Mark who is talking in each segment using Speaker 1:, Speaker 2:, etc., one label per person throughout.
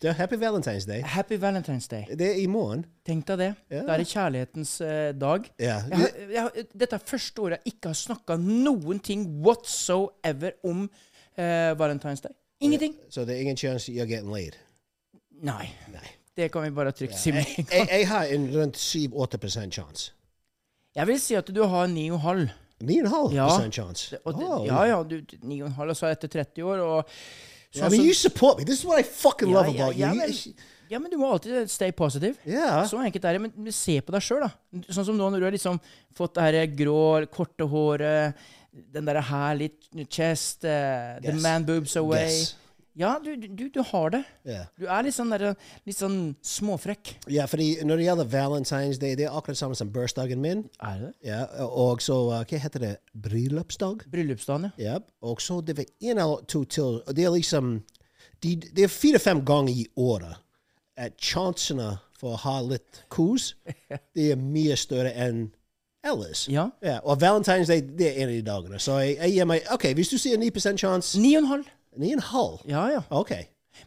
Speaker 1: Du, happy Valentine's Day.
Speaker 2: Happy Valentine's Day.
Speaker 1: Det er i morgen.
Speaker 2: Tenk deg det.
Speaker 1: Ja.
Speaker 2: Da er det kjærlighetens eh, dag.
Speaker 1: Ja.
Speaker 2: Jeg, har- jeg, har- dette er første året jeg ikke har snakka noen ting whatsoever om eh, Valentine's Day. Ingenting.
Speaker 1: Så det er ingen chance you're getting laid. Eh,
Speaker 2: Nei. Det kan vi bare trygt si med en
Speaker 1: Jeg,
Speaker 2: gang.
Speaker 1: jeg har en rundt 7-8 chance.
Speaker 2: Jeg vil si at du har ni og halv.
Speaker 1: 9,5
Speaker 2: Ja.
Speaker 1: chance.
Speaker 2: Og det,
Speaker 1: Oh.
Speaker 2: ja, ja, du, ni og en halv, og så etter 30 år, og
Speaker 1: I mean, you support me. This is what I fucking
Speaker 2: Ja,
Speaker 1: love
Speaker 2: ja,
Speaker 1: about
Speaker 2: ja,
Speaker 1: you.
Speaker 2: men-
Speaker 1: You-
Speaker 2: Ja, men du må alltid stay positive.
Speaker 1: Ja.
Speaker 2: Så enkelt er det. Men se på deg sjøl, da. Sånn som nå når du har liksom fått det her grå, korte håret, den derre her litt chest, eh, the
Speaker 1: Yes.
Speaker 2: man boobs away.
Speaker 1: Yes.
Speaker 2: Ja, du, du, du har det.
Speaker 1: Ja.
Speaker 2: Du er litt sånn, der, litt sånn småfrekk.
Speaker 1: Ja, fordi når det gjelder Valentine's Day, det er akkurat samme som bursdagen min.
Speaker 2: Er det det?
Speaker 1: Ja, og så, uh, hva heter det, bryllupsdag?
Speaker 2: Bryllupsdagen, ja.
Speaker 1: Ja, og så det var en eller to til. Og det er liksom, de, det er fire-fem ganger i året at sjansene for å ha litt kos, det er mye større enn ellers.
Speaker 2: Ja.
Speaker 1: Ja, og Valentine's Day, det er en av de dagene. Så jeg, jeg gir meg, ok, hvis du sier 9% sjanse,
Speaker 2: Ni og en halv.
Speaker 1: 9,5.
Speaker 2: Ja, ja.
Speaker 1: Ok.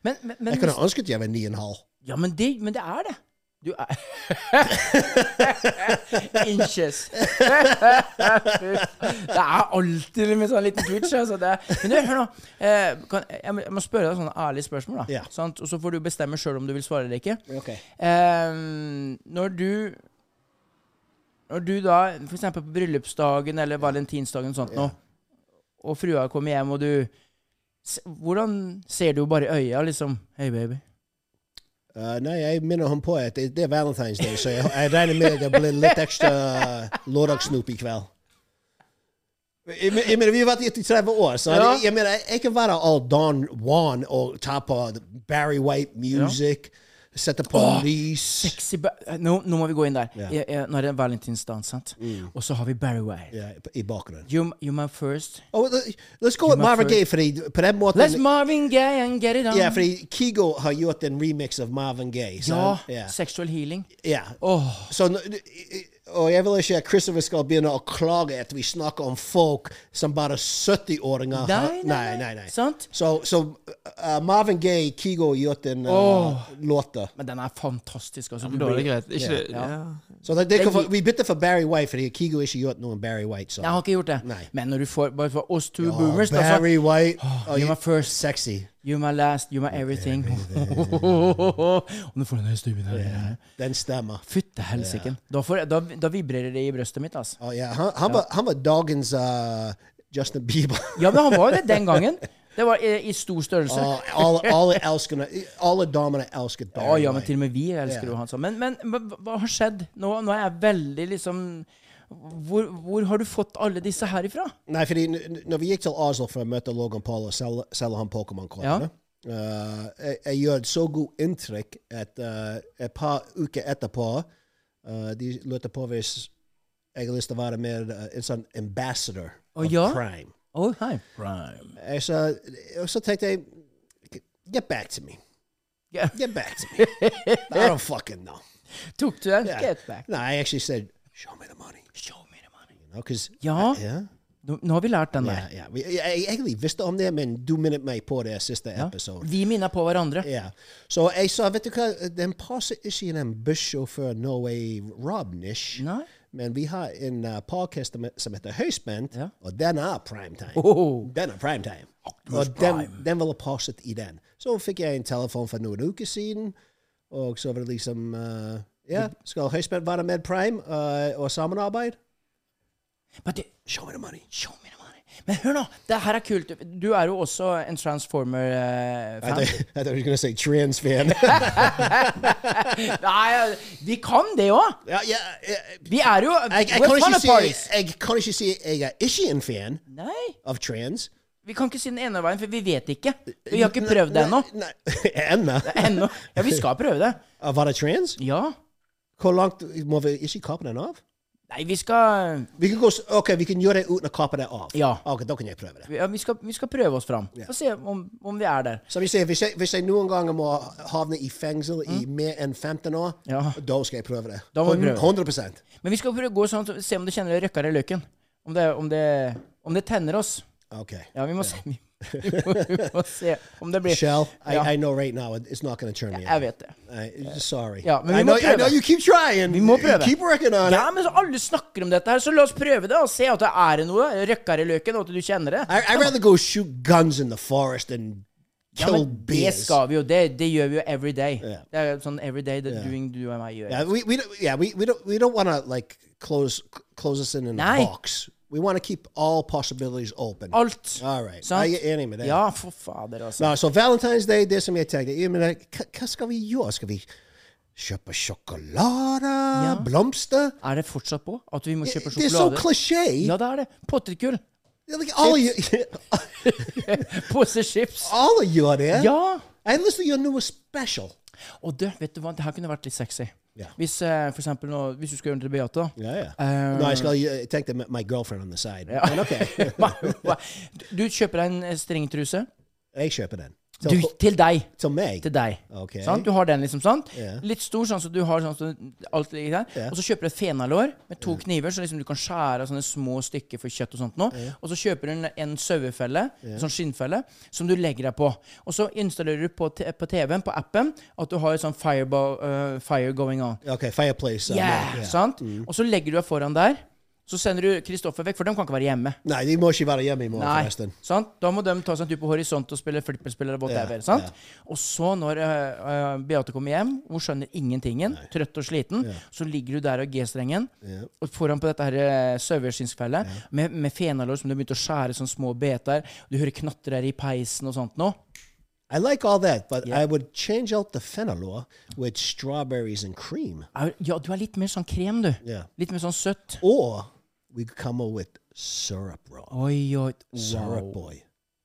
Speaker 2: Men, men, men,
Speaker 1: Jeg kunne ønsket jeg var 9,5.
Speaker 2: ja, men, det, men det er det. Du er Inches. det er alltid med sånn liten twitch. Altså det. er- Men du, hør nå. Eh, kan, jeg, må, jeg må spørre deg sånne ærlige spørsmål, da.
Speaker 1: Ja.
Speaker 2: Sant? Og så får du bestemme sjøl om du vil svare eller ikke.
Speaker 1: Ok.
Speaker 2: Eh, når du Når du da, f.eks. på bryllupsdagen eller valentinsdagen og sånt nå, og frua kommer hjem, og du s- Hvordan ser du bare i øya, liksom? Hei, baby.
Speaker 1: Uh, nei, jeg minner ham på at det, det er Valentine's Day, så jeg, jeg regner med at det blir litt ekstra eh, lørdagssnop i kveld. Jeg, men- jeg mener, vi har vært gift i 30 år, så
Speaker 2: Ja.
Speaker 1: jeg, jeg mener, jeg, jeg kan være all Don Juan og ta på Barry White music, sette på
Speaker 2: Oh,
Speaker 1: lys.
Speaker 2: Sexy ba eh, nå, nå må vi gå inn der.
Speaker 1: Ja. Mm.
Speaker 2: Jeg, jeg, nå er det en valentinsdans, sant? Og så har vi Barry White.
Speaker 1: Ja, i bakgrunnen.
Speaker 2: You, you my first.
Speaker 1: er Oh, let's go with Marvin Gaye, fordi på den måten...
Speaker 2: Let's Marvin Gaye and get it on.
Speaker 1: Ja, fordi Kigo har gjort en remix av Marvin Gaye. Så,
Speaker 2: Ja,
Speaker 1: ja.
Speaker 2: Sexual healing.
Speaker 1: Ja.
Speaker 2: Oh.
Speaker 1: Så, nå- og jeg vil ikke at Christopher skal begynne å klage at vi snakker om folk som bare er 70-åringer har-
Speaker 2: Nei, nei, nei. Sant?
Speaker 1: Så, så uh, Marvin Gaye, Kigo har gjort en uh,
Speaker 2: Oh.
Speaker 1: låt.
Speaker 2: Men den er fantastisk. Altså. Du
Speaker 3: Da er det
Speaker 2: blir-
Speaker 3: greit. Ikke det ja.
Speaker 1: Så det, det kan, få- vi bytter for Barry White, fordi Kigo ikke gjort noen Barry White. Så.
Speaker 2: Jeg har ikke gjort det.
Speaker 1: Nei.
Speaker 2: Men når du får bare for oss two
Speaker 1: Åh,
Speaker 2: boomers da, så-
Speaker 1: Barry White. Oh,
Speaker 2: you're my first.
Speaker 1: Sexy.
Speaker 2: You're my last, you're my everything. Og nå får du den høye stubben her.
Speaker 1: Den stemmer.
Speaker 2: Fytte helsiken. Da, får jeg- da, da vibrerer det i brøstet mitt, altså.
Speaker 1: Å, ja. Oh, han, han, Var, han var dagens uh, Justin Bieber.
Speaker 2: Ja, men han var jo det den gangen. Det var i, i stor størrelse.
Speaker 1: Å, alle, alle, elskerne, alle damene elsket Barry
Speaker 2: Oh, Ja, ja, men
Speaker 1: White.
Speaker 2: til og med vi elsker jo han sånn. Men, men hva- hva har skjedd? Nå, nå er jeg veldig liksom hvor, hvor har du fått alle disse her ifra?
Speaker 1: Nei, fordi n- n- når vi gikk til Oslo for å møte Logan Paul og selge, selge han Pokémon-kortene
Speaker 2: Ja.
Speaker 1: eh, jeg, jeg gjør et så godt inntrykk at eh, et par uker etterpå eh, de lurte på hvis jeg har lyst til å være med eh, en sånn ambassador
Speaker 2: Å,
Speaker 1: of
Speaker 2: ja?
Speaker 1: crime. eh,
Speaker 2: Oh, hei. Prime.
Speaker 1: Jeg sa, og så tenkte jeg Get back to me.
Speaker 2: Yeah.
Speaker 1: Get back to me. I don't fucking know.
Speaker 2: Tok du den?
Speaker 1: Yeah.
Speaker 2: Get back.
Speaker 1: No, I actually said, show me the money.
Speaker 2: Show me the money.
Speaker 1: You know, 'cause-
Speaker 2: Ja.
Speaker 1: yeah.
Speaker 2: Nå, nå har vi lært den
Speaker 1: Ja,
Speaker 2: der.
Speaker 1: ja. Vi- Jeg, jeg egentlig visste om det, men du minnet meg på det siste episode.
Speaker 2: Vi minner på hverandre.
Speaker 1: Ja. Så jeg sa, vet du hva, den passer ikke i den bussjåfør Norway Robnish.
Speaker 2: Nei.
Speaker 1: Men vi har en uh, podcast som- som heter Høyspent,
Speaker 2: Ja.
Speaker 1: og den er primetime.
Speaker 2: Oh.
Speaker 1: Den er primetime. Og den, den ville passet i den. Så fikk jeg en telefon for noen uker siden, og så var det liksom uh, Ja, skal Høyspent være med prime uh, og sammenarbeid?
Speaker 2: But the-
Speaker 1: Show me the money.
Speaker 2: show me the money. Men hør nå, det her er kult. Du er jo også en eh, Transformer-fan.
Speaker 1: I thought, I thought you were going to say trans fan.
Speaker 2: Nei, vi kan det òg!
Speaker 1: Ja, ja, jeg,
Speaker 2: Vi er jo
Speaker 1: jeg, jeg, kan
Speaker 2: we're fun
Speaker 1: ikke
Speaker 2: of parties.
Speaker 1: si, jeg kan ikke si jeg er ikke en fan
Speaker 2: Nei.
Speaker 1: av trans.
Speaker 2: Vi kan ikke si den ene veien, for vi vet ikke. Vi har ikke prøvd det ennå.
Speaker 1: Nei, nei, ennå?
Speaker 2: Ennå. Ja, vi skal prøve det.
Speaker 1: Ah, Var det trans?
Speaker 2: Ja.
Speaker 1: Hvor langt må vi Ikke kappe den av?
Speaker 2: Nei, vi skal
Speaker 1: Vi kan gå, s- ok, vi kan gjøre det uten å kappe det av.
Speaker 2: Ja.
Speaker 1: Ok, Da kan jeg prøve det.
Speaker 2: vi- ja, Vi skal, vi skal prøve oss fram. Få se om, om vi er der.
Speaker 1: Som jeg sier, hvis jeg, hvis jeg noen ganger må havne i fengsel i mer enn 15 år,
Speaker 2: Mm. Ja.
Speaker 1: da skal jeg prøve det.
Speaker 2: Da må vi prøve det.
Speaker 1: 100
Speaker 2: Men vi skal prøve å gå sånn at- se om det kjenner røkker i løken. Om det, om, det, om det tenner oss.
Speaker 1: Ok.
Speaker 2: Ja, vi må se. Vi, må, vi må se om det blir
Speaker 1: Shell, I,
Speaker 2: Ja.
Speaker 1: I know right now it- it's not going to turn me
Speaker 2: Jeg
Speaker 1: on.
Speaker 2: vet det.
Speaker 1: I, sorry.
Speaker 2: Ja, men vi
Speaker 1: I,
Speaker 2: må
Speaker 1: know, I
Speaker 2: prøve.
Speaker 1: know you keep trying.
Speaker 2: Vi må
Speaker 1: You
Speaker 2: prøve.
Speaker 1: Keep working on
Speaker 2: Ja,
Speaker 1: it.
Speaker 2: men så Alle snakker om dette, her, så la oss prøve det og se at det er noe. Røkker i løken, og at du kjenner det.
Speaker 1: I, I'd rather go shoot guns in the forest than
Speaker 2: Ja,
Speaker 1: kill
Speaker 2: men det
Speaker 1: bears.
Speaker 2: skal vi jo. Det, det gjør vi jo every day.
Speaker 1: Ja.
Speaker 2: Det er jo sånn every day that doing du og meg gjør.
Speaker 1: Yeah, we, we don't, yeah, we, we don't we don't want to like close close us in in
Speaker 2: Nei.
Speaker 1: a box. We want to keep all possibilities open.
Speaker 2: Alt.
Speaker 1: All right.
Speaker 2: Sant?
Speaker 1: Jeg er enig med deg.
Speaker 2: Ja, for fader, altså.
Speaker 1: Nå, så Uh, Valentine's Day, det som jeg tenker jeg mener, hva, hva skal vi gjøre? Skal vi kjøpe sjokolade? Blomster?
Speaker 2: Er det fortsatt på at vi må kjøpe
Speaker 1: Det er så
Speaker 2: sjokolade?
Speaker 1: klisjé!
Speaker 2: ja, det er det. Pottekull.
Speaker 1: Det er like, Alle gjør-
Speaker 2: Pose chips.
Speaker 1: alle gjør det.
Speaker 2: Ja.
Speaker 1: Jeg har lyst til å gjøre noe special.
Speaker 2: Og du, vet du hva, det her kunne vært litt sexy.
Speaker 1: Ja.
Speaker 2: Hvis eh, for eksempel nå, hvis du skal gjøre den til Beate, da.
Speaker 1: Ja, ja.
Speaker 2: Eh,
Speaker 1: Nei, jeg skal jeg tenkte med my girlfriend on uh, the side. Men ok,
Speaker 2: Du- Du kjøper deg en eh, stringtruse.
Speaker 1: jeg kjøper den.
Speaker 2: Du,
Speaker 1: Til,
Speaker 2: til deg.
Speaker 1: til meg?
Speaker 2: Til deg.
Speaker 1: Ok.
Speaker 2: Sant? Du har den, liksom. sant?
Speaker 1: Ja.
Speaker 2: Litt stor, sånn så du har sånn så alt ligger der.
Speaker 1: Ja.
Speaker 2: Og så kjøper du et fenalår med to kniver, så liksom du kan skjære av sånne små stykker for kjøtt og sånt nå. Og så kjøper du en, en sauefelle, en sånn skinnfelle, som du legger deg på. Og så installerer du på, t- på TV-en, på appen, at du har et sånn fireball, eh, fire going on.
Speaker 1: Ok, fireplace. uh,
Speaker 2: Yeah,
Speaker 1: yeah.
Speaker 2: sant? Og så legger du deg foran der. Så sender du Kristoffer vekk, for de kan ikke være hjemme.
Speaker 1: Nei, de må ikke være hjemme i morgen, forresten.
Speaker 2: sant? Da må de ta seg en tur på horisont og spille flipperspill eller whatever.
Speaker 1: Ja,
Speaker 2: sant? Og så, når eh, eh, Beate kommer hjem, hun skjønner ingentingen, trøtt og sliten, så ligger du der og G-strengen og foran på dette her eh, saueskinnsfellet med, med fenalår som du har begynt å skjære sånne små beter. Du hører knatrer i peisen og sånt nå.
Speaker 1: I like all that, but I would change out the fenalore with strawberries and cream.
Speaker 2: Er- Ja, du er litt mer sånn krem, du.
Speaker 1: Ja.
Speaker 2: Litt mer sånn søtt.
Speaker 1: Or we could come up with syrup roll.
Speaker 2: Oi, oi,
Speaker 1: Syrup
Speaker 2: Oh, wow.
Speaker 1: boy.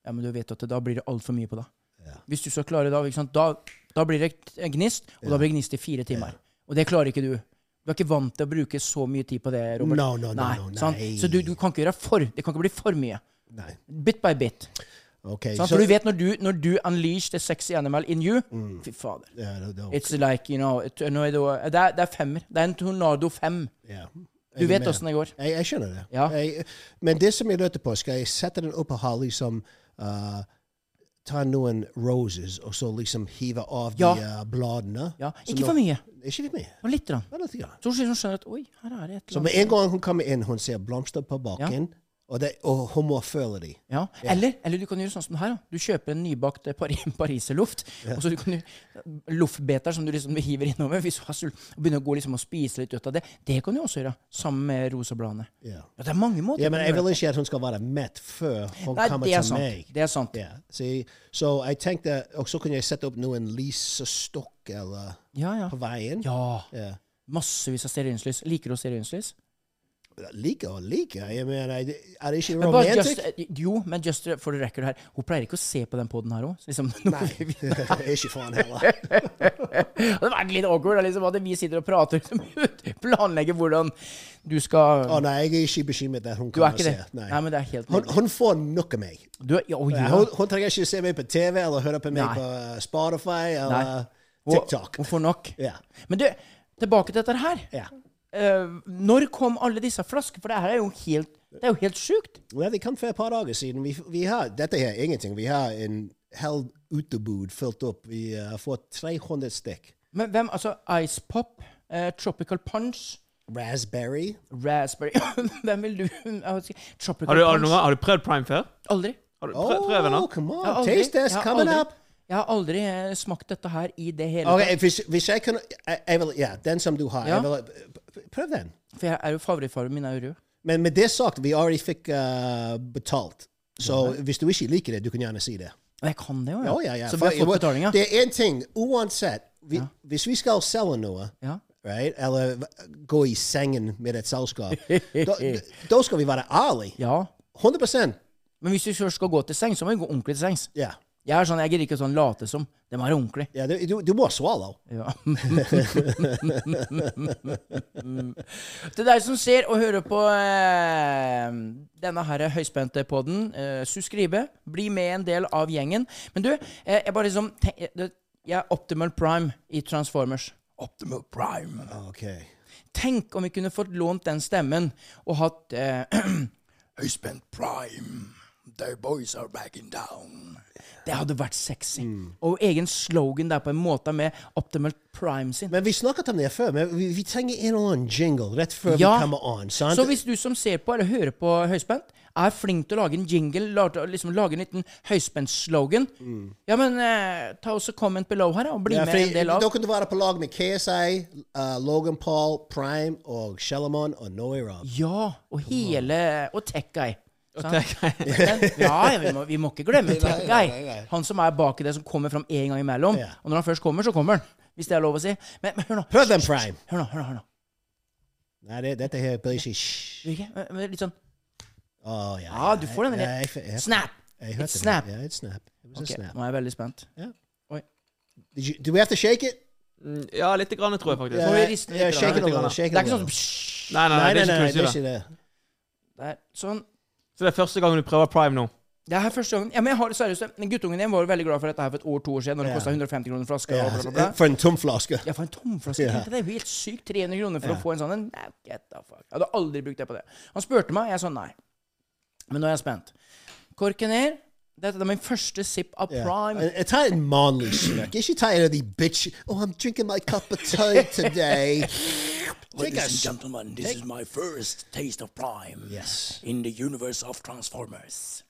Speaker 2: Ja, men du vet at da blir det altfor mye på deg. Hvis du skal klare det, da, ikke sant? Da, da blir det gnist, og da blir det gnist i fire timer. Og det klarer ikke du. Du er ikke vant til å bruke så mye tid på det, Robert.
Speaker 1: No, no, no, no,
Speaker 2: sant?
Speaker 1: nei.
Speaker 2: Så du, du kan ikke gjøre for. Det kan ikke bli for mye.
Speaker 1: Nei.
Speaker 2: Bit by bit.
Speaker 1: Okay.
Speaker 2: Sant?
Speaker 1: so-
Speaker 2: For du vet når du, når du unleash the sexy animal in you
Speaker 1: Mm.
Speaker 2: Fy fader.
Speaker 1: Yeah, no, no,
Speaker 2: It's like, you know a tornado, det, er, det er femmer. Det er en tornado fem.
Speaker 1: yeah.
Speaker 2: Du vet
Speaker 1: Amen.
Speaker 2: åssen det går.
Speaker 1: Jeg, jeg skjønner det.
Speaker 2: Ja.
Speaker 1: Jeg, men det som jeg lurte på, skal jeg sette den opp og ha liksom eh, Ta noen roses og så liksom hive av
Speaker 2: Ja.
Speaker 1: de eh, bladene?
Speaker 2: Ja.
Speaker 1: Så
Speaker 2: Ikke
Speaker 1: nå-
Speaker 2: for mye.
Speaker 1: Ikke for mye.
Speaker 2: Bare Litt. grann.
Speaker 1: Bare litt grann.
Speaker 2: Så hun skjønner at Oi, her er det et
Speaker 1: Så
Speaker 2: eller annet.
Speaker 1: med en gang hun kommer inn, hun ser blomster på bakken, og, det, og hun må føle de.
Speaker 2: Ja. Eller, eller du kan gjøre sånn som det her. Da. Du kjøper en nybakt eh, pari pariserloft. Og så du kan du loffbeter som du liksom hiver innover hvis du har sult. Og begynner å gå liksom og spise litt ut av det. Det kan du også gjøre. Sammen med rosabladene.
Speaker 1: Ja.
Speaker 2: Ja, det er mange måter.
Speaker 1: Ja, men
Speaker 2: å
Speaker 1: jeg
Speaker 2: gjøre
Speaker 1: vil
Speaker 2: det
Speaker 1: ikke at hun skal være mett før hun
Speaker 2: på. Nei,
Speaker 1: kommer
Speaker 2: det er
Speaker 1: til
Speaker 2: sant.
Speaker 1: meg.
Speaker 2: Det er sant.
Speaker 1: Ja, see? Så jeg tenkte, og så kunne jeg sette opp noen lysestokk eller
Speaker 2: Ja, ja.
Speaker 1: på veien.
Speaker 2: ja.
Speaker 1: Ja.
Speaker 2: Massevis av stearinslys. Liker du stearinslys?
Speaker 1: Liker og liker. Jeg mener, er det- er det ikke
Speaker 2: Men bare just,
Speaker 1: romantic?
Speaker 2: eh, jo, men just for the record her, hun pleier ikke å se på den poden her òg. Liksom, Nei.
Speaker 1: ikke faen heller.
Speaker 2: Det hadde vært litt awkward da, liksom, at vi sitter og prater liksom, ut, planlegger hvordan du skal
Speaker 1: Å nei, jeg er ikke bekymret at hun
Speaker 2: Du er
Speaker 1: kommer
Speaker 2: ikke
Speaker 1: til
Speaker 2: det?
Speaker 1: å se.
Speaker 2: Nei.
Speaker 1: Nei.
Speaker 2: men det er helt
Speaker 1: Hun, hun får nok av meg.
Speaker 2: Du er, ja, å, ja.
Speaker 1: Hun, hun trenger ikke se meg på TV eller høre på meg
Speaker 2: Nei.
Speaker 1: på eh, Spotify
Speaker 2: Nei.
Speaker 1: eller
Speaker 2: Hun-
Speaker 1: TikTok.
Speaker 2: Hun får nok.
Speaker 1: Ja.
Speaker 2: Men du, tilbake til dette her.
Speaker 1: Ja.
Speaker 2: Eh, når kom alle disse flaskene? For det her er jo helt, det er jo helt sjukt.
Speaker 1: Ja, det kan for et par dager siden. Vi, vi har, dette her er ingenting. Vi har en hel utebud fylt opp. Vi eh, har fått 300 stykk.
Speaker 2: Men hvem, altså Ice Pop, eh, Tropical Punch,
Speaker 1: Raspberry.
Speaker 2: Raspberry Hvem vil du Jeg vet ikke. Tropical
Speaker 3: Har du, har, du,
Speaker 2: Punch?
Speaker 3: noen gang- har du prøvd Prime før?
Speaker 2: Aldri.
Speaker 3: Har du prøvd,
Speaker 1: Oh,
Speaker 3: prøvd den?
Speaker 1: come on.
Speaker 2: Jeg har aldri-
Speaker 1: Taste test
Speaker 2: jeg har
Speaker 1: coming
Speaker 2: aldri-
Speaker 1: up.
Speaker 2: Jeg har aldri eh, smakt dette her i det hele
Speaker 1: Ok,
Speaker 2: tatt.
Speaker 1: hvis, hvis jeg kan jeg, jeg vil, Ja, den som du har.
Speaker 2: Ja.
Speaker 1: Jeg vil, p- prøv den.
Speaker 2: For jeg er jo favorittfargen min er jo rød.
Speaker 1: Men med det sagt, vi already fikk eh, betalt. Så hvis du ikke liker det, du kan gjerne si det. Oh,
Speaker 2: Og jeg kan det jo,
Speaker 1: Ja, ja, ja.
Speaker 2: Så vi
Speaker 1: For-
Speaker 2: har fått betalinga.
Speaker 1: Det er én ting. Uansett, vi, hvis vi skal selge noe
Speaker 2: Ja.
Speaker 1: right? Eller gå i sengen med et selskap. da, da skal vi være ærlige.
Speaker 2: ja.
Speaker 1: 100
Speaker 2: Men hvis du først skal gå til sengs, så må du gå ordentlig til sengs.
Speaker 1: Yeah.
Speaker 2: Jeg er sånn, jeg gidder ikke sånn late som. Det må være ordentlig.
Speaker 1: Yeah, they, do, do more swallow.
Speaker 2: Ja. Til deg som ser og hører på eh, denne her høyspente podden, eh, suskribe, bli med en del av gjengen. Men du, eh, jeg bare liksom tenk, du, Jeg er Optimal Prime i Transformers. Optimal Prime.
Speaker 1: Okay.
Speaker 2: Tenk om vi kunne fått lånt den stemmen og hatt eh, Høyspent prime. The boys are backing down. Det hadde vært sexy.
Speaker 1: Mm.
Speaker 2: Og egen slogan der på en måte med Optimal Prime sin.
Speaker 1: Men vi snakket om det før, men vi, vi trenger en eller annen jingle rett før
Speaker 2: Ja.
Speaker 1: vi kommer on. Sant?
Speaker 2: Så hvis du som ser på eller hører på Høyspent, er flink til å lage en jingle, lage, liksom lage en liten høyspent-slogan, ja, men eh, ta også comment below her, da, og bli
Speaker 1: Mm. Ja,
Speaker 2: med
Speaker 1: fordi
Speaker 2: en del av.
Speaker 1: Da kan du være på lag med KSI, uh, Logan Paul, Prime og Shellamon og Noe Rob.
Speaker 2: Ja, og hele Og Tech Guy. Sant? Ja, vi må, vi må ikke glemme Tech
Speaker 1: nei,
Speaker 2: Guy.
Speaker 1: nei.
Speaker 2: Han som er baki det, som kommer fram en gang imellom.
Speaker 1: Ja.
Speaker 2: Og når han først kommer, så kommer han. Hvis det er lov å si. Men, men hør nå.
Speaker 1: Hør den, Prime!
Speaker 2: Hør nå, hør nå, hør nå.
Speaker 1: Nei, det, dette her blir ikke Hysj.
Speaker 2: Virker? Men- men Litt sånn
Speaker 1: Å, ja.
Speaker 2: Ja, du får den
Speaker 1: Ja, jeg, jeg, jeg,
Speaker 2: Snap!
Speaker 1: jeg hørte
Speaker 2: It's snap.
Speaker 1: Det. Ja, it's snap. It was
Speaker 2: Ok,
Speaker 1: a snap.
Speaker 2: nå er jeg veldig spent.
Speaker 1: Did you, do we have to shake it?
Speaker 3: Mm, Ja, litt grann, tror jeg faktisk.
Speaker 1: Ja,
Speaker 2: Må vi riste litt
Speaker 1: ja,
Speaker 2: grann?
Speaker 1: shake it a
Speaker 3: Litt
Speaker 1: little.
Speaker 3: grann.
Speaker 1: Shake
Speaker 2: Det
Speaker 1: it
Speaker 2: er
Speaker 1: a little.
Speaker 2: ikke sånn psh,
Speaker 3: Nei, nei, nei,
Speaker 1: Nei, nei,
Speaker 3: det er
Speaker 1: nei,
Speaker 3: ikke
Speaker 1: det er
Speaker 3: kursiv.
Speaker 1: ikke det.
Speaker 2: der. Sånn.
Speaker 3: Så det er første gangen du prøver prime nå.
Speaker 2: Det er første gangen. Ja, men jeg har det seriøst. Men guttungen din var jo veldig glad for dette her for et år, to år siden, når det
Speaker 1: Ja.
Speaker 2: kosta 150 kroner flaska.
Speaker 1: Ja,
Speaker 2: og bla, bla, bla.
Speaker 1: for en tom flaske.
Speaker 2: Ja, for en tomflaske.
Speaker 1: Ja.
Speaker 2: tenk deg Det er jo helt sykt. 300 kroner for å få en sånn en. Nei, get the fuck. Jeg hadde aldri brukt det på det. Han spurte meg, jeg sa nei. Men nå er jeg spent. Korken ned. Dette er min første sip av
Speaker 1: Ja.
Speaker 2: prime.
Speaker 1: Jeg- Jeg tar en mannlig snøkk. Ikke ta en av de bitch Oh, I'm drinking my cup of tea today. Take a s-
Speaker 2: gentlemen, this is my first taste of prime
Speaker 1: Yes.
Speaker 2: in the universe of Transformers.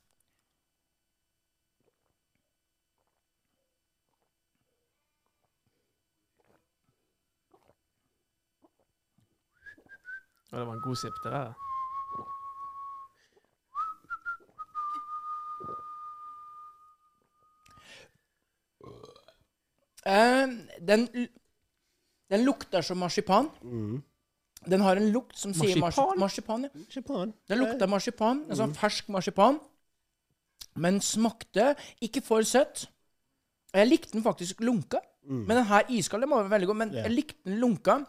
Speaker 3: Ja, det var en god sip, det der.
Speaker 2: Ehm, den, l- den lukter som marsipan.
Speaker 1: Mm.
Speaker 2: Den har en lukt som sier marsipan.
Speaker 3: Marsipan?
Speaker 2: marsipan ja.
Speaker 1: Ikke på den.
Speaker 2: Den lukta marsipan. En sånn fersk marsipan. Men smakte ikke for søtt. Og Jeg likte den faktisk lunka. Men den her iskallen var veldig god. Men
Speaker 1: Ja.
Speaker 2: jeg likte den lunka.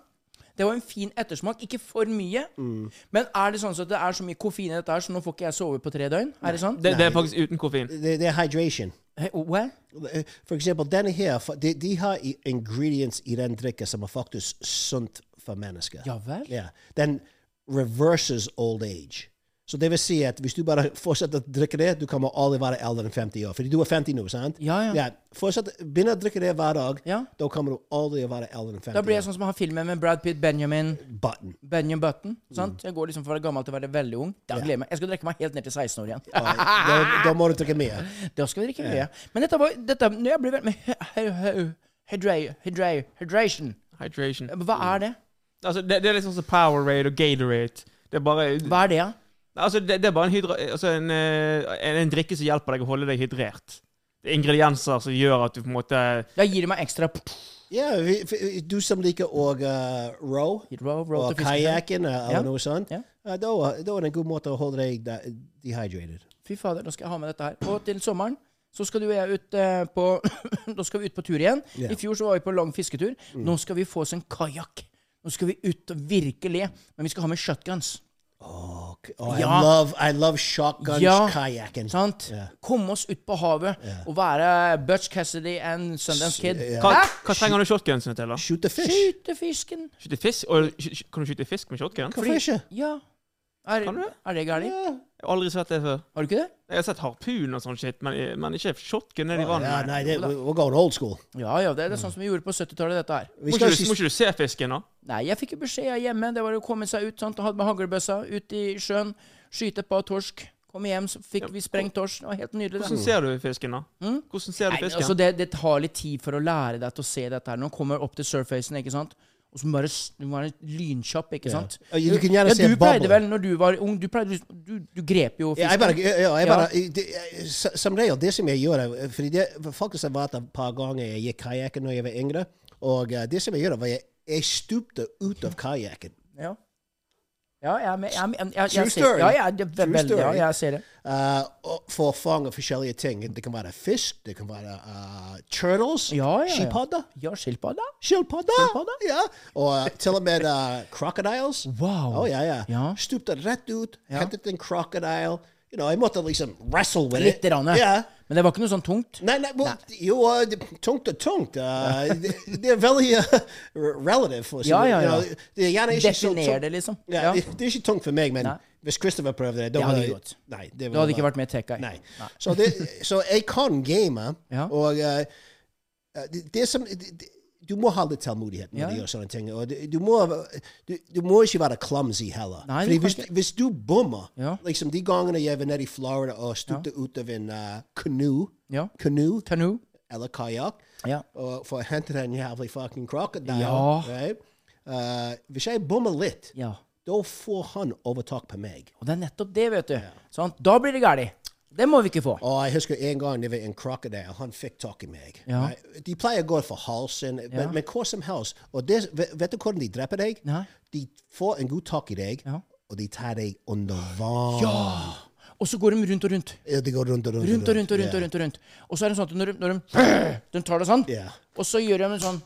Speaker 2: Det var en fin ettersmak. Ikke for mye. Men er det sånn at det er så mye koffein i dette her, så nå får ikke jeg sove på tre døgn? Er det sånn?
Speaker 3: Det, det er faktisk uten koffein.
Speaker 1: Det, det er hydration.
Speaker 2: Hey, oh, well,
Speaker 1: Eh, For eksempel, denne her, for- de, de har i- ingredients i den drikken som er faktisk sunt for mennesker.
Speaker 2: ja vel?
Speaker 1: Ja. Den reverses old age. Så det vil si at hvis du bare fortsetter å drikke det, du kommer aldri være eldre enn 50 år. Fordi du er 50 nå, sant?
Speaker 2: Ja, ja.
Speaker 1: Fortsett, begynn å drikke det hver dag.
Speaker 2: Ja.
Speaker 1: Da kommer du aldri å være eldre enn 50
Speaker 2: Da blir jeg
Speaker 1: år.
Speaker 2: sånn som han filmen med Brad Pitt, Benjamin
Speaker 1: Button.
Speaker 2: Benjamin Button. sant? Jeg går liksom fra å være gammel til å være veldig ung. Da gleder jeg meg. Jeg skal drikke meg helt ned til 16 år igjen.
Speaker 1: Ja, da, da må du drikke mer.
Speaker 2: Da skal vi drikke mye. Men dette var dette, når jeg ble veldig med hy- hy- hy- hydra- hydra- Hydration.
Speaker 3: Hydration.
Speaker 2: Hva er det?
Speaker 3: Altså, det, det er liksom som Powerade og Gatorade. Det er bare
Speaker 2: Hva er det, da?
Speaker 3: Altså, det, det er bare en, hydra, altså en, eh, en, en drikke som hjelper deg å holde deg hydrert. Det er ingredienser som gjør at du på en måte
Speaker 2: Da gir det meg ekstra
Speaker 1: Ja, vi- vi- du som liker å uh, row
Speaker 2: row, row
Speaker 1: og
Speaker 2: til fiskefrø.
Speaker 1: kajakken eh, eller
Speaker 2: Ja.
Speaker 1: noe sånt,
Speaker 2: Ja.
Speaker 1: eh, da, da er det en god måte å holde deg de- dehydrated.
Speaker 2: Fy fader, da skal jeg ha med dette her. Og til sommeren så skal du og jeg ut eh, på Da skal vi ut på tur igjen.
Speaker 1: Ja. Mm.
Speaker 2: I fjor så var vi på lang fisketur. Nå skal vi få oss en kajakk. Nå skal vi ut og virkelig. Men vi skal ha med shotguns.
Speaker 1: Okay. Oh,
Speaker 2: Ja.
Speaker 1: I love, I love shotguns,
Speaker 2: Ja.
Speaker 1: kajakken.
Speaker 2: Sant?
Speaker 1: Ja.
Speaker 2: Komme oss ut på havet og være Butch Cassidy and Sundance Kid.
Speaker 3: Hva,
Speaker 2: Hæ?
Speaker 3: hva trenger du shotgunsene til, da?
Speaker 1: Shoot the fish.
Speaker 2: Skyte fisken.
Speaker 3: Skyte fisk? Og, sky- sky- kan du skyte fisk med shotgun?
Speaker 1: Hvorfor ikke?
Speaker 2: Ja. Er,
Speaker 3: Kan du det?
Speaker 2: er det gærent?
Speaker 3: Jeg har aldri sett det før.
Speaker 2: Har du ikke det?
Speaker 3: Jeg har sett harpun og sånn shit, men, men ikke shotgun nede i
Speaker 1: Ja,
Speaker 3: vannet.
Speaker 1: nei, det, we're going old school.
Speaker 2: Ja, ja, det er det
Speaker 1: Mm.
Speaker 2: sånn som vi gjorde på 70-tallet, dette her.
Speaker 1: Vi
Speaker 3: Må
Speaker 1: skal
Speaker 3: ikke,
Speaker 1: si-
Speaker 3: du, må ikke du se fisken, da?
Speaker 2: Nei, jeg fikk jo beskjed jeg hjemme. Det var å komme seg ut, sant, og hadde med haglbøssa ut i sjøen, skyte et par torsk. Kom hjem, så fikk vi sprengt torsk. Det var helt nydelig.
Speaker 3: Hvordan
Speaker 2: det.
Speaker 3: ser du fisken, da? Hvordan ser
Speaker 2: Mm? Nei,
Speaker 3: du
Speaker 2: men
Speaker 3: fisken?
Speaker 2: altså, det, det tar litt tid for å lære deg til å se dette her. Når du kommer opp til surfacen, ikke sant. Og så må du bare s- du må være lynkjapp, ikke sant.
Speaker 1: Ja, du kan gjerne
Speaker 2: ja,
Speaker 1: se
Speaker 2: du pleide
Speaker 1: bobler.
Speaker 2: vel, når du var ung, du, pleide, du, du grep jo
Speaker 1: Ja,
Speaker 2: fisken.
Speaker 1: jeg bare, ja, ja, jeg
Speaker 2: Ja.
Speaker 1: bare, det, s- som regel, det som jeg gjør eh, fordi det faktisk har vært et par ganger jeg gikk kajakken når jeg var yngre. Og eh, det som jeg gjorde, var jeg, jeg stupte ut av kajakken.
Speaker 2: Ja. Ja, jeg er med. Jeg, er med. jeg, jeg, jeg,
Speaker 1: True
Speaker 2: ser,
Speaker 1: story.
Speaker 2: ja, jeg, er ve-
Speaker 1: True
Speaker 2: veldig, ja,
Speaker 1: story.
Speaker 2: jeg ser det.
Speaker 1: Eh, og for å fange forskjellige ting. Det kan være fisk, det kan være eh, turtles,
Speaker 2: Ja, ja, ja.
Speaker 1: skilpadder.
Speaker 2: Ja, skilpadda?
Speaker 1: Skilpadder!
Speaker 2: Skilpadder?
Speaker 1: Ja. Og eh, til og med eh, crocodiles. Oh,
Speaker 2: Wow.
Speaker 1: Å, ja, ja.
Speaker 2: Ja.
Speaker 1: Stupte rett ut,
Speaker 2: Ja.
Speaker 1: hentet en crocodile. You know, jeg måtte liksom um, wrestle with
Speaker 2: Litt.
Speaker 1: it.
Speaker 2: Rann,
Speaker 1: Ja.
Speaker 2: Men det var ikke noe sånn tungt.
Speaker 1: Nei, nei, well, jo, eh, det- tungt og tungt. eh, det, det er veldig eh, relative. For å si
Speaker 2: Ja,
Speaker 1: det.
Speaker 2: ja,
Speaker 1: You
Speaker 2: ja.
Speaker 1: know, det er gjerne ikke så
Speaker 2: Definer
Speaker 1: tungt.
Speaker 2: det, liksom.
Speaker 1: Ja,
Speaker 2: Ja.
Speaker 1: Det, det er ikke tungt for meg, men
Speaker 2: Nei.
Speaker 1: hvis Christopher prøvde det
Speaker 2: Det
Speaker 1: da
Speaker 2: hadde
Speaker 1: var-
Speaker 2: ikke gått.
Speaker 1: Nei, det
Speaker 2: Du hadde ikke vært med i Tech Guy.
Speaker 1: Nei. Så, det, så jeg kan game,
Speaker 2: Ja.
Speaker 1: og eh, det, det som det, det- Du må ha litt tålmodighet når
Speaker 2: Ja,
Speaker 1: du
Speaker 2: ja.
Speaker 1: gjør sånne ting. Og du, du, må, du, du må ikke være clumsy heller.
Speaker 2: Nei,
Speaker 1: Fordi
Speaker 2: du kan
Speaker 1: hvis,
Speaker 2: ikke.
Speaker 1: hvis du bommer
Speaker 2: Ja.
Speaker 1: liksom De gangene jeg var nede i Florida og stupte ut av en uh, kanu,
Speaker 2: Ja.
Speaker 1: kanu
Speaker 2: Canoe.
Speaker 1: eller kajakk
Speaker 2: Ja.
Speaker 1: og for å hente den jævlig fucking crocodile.
Speaker 2: Ja.
Speaker 1: Right? Eh, hvis jeg bommer litt,
Speaker 2: ja.
Speaker 1: da får han overtak på meg.
Speaker 2: Og det er nettopp det, vet du. Sånn, da blir det gærlig. Det må vi ikke få.
Speaker 1: Og Oh, jeg husker en gang det var en crocodile, han fikk tak i meg.
Speaker 2: Ja.
Speaker 1: Right? De pleier å gå for halsen,
Speaker 2: Ja.
Speaker 1: men, men hva som helst. Og det, vet vet du hvordan de dreper deg?
Speaker 2: Nei.
Speaker 1: De får en god tak i deg,
Speaker 2: Ja.
Speaker 1: og de tar deg under vann. Ja.
Speaker 2: Og så går de rundt og rundt.
Speaker 1: De går rundt og rundt.
Speaker 2: Rundt og rundt og rundt. Og rundt og rundt. Og så er det sånn at når de, når de, de tar det sånn,
Speaker 1: Ja.
Speaker 2: og så gjør de en sånn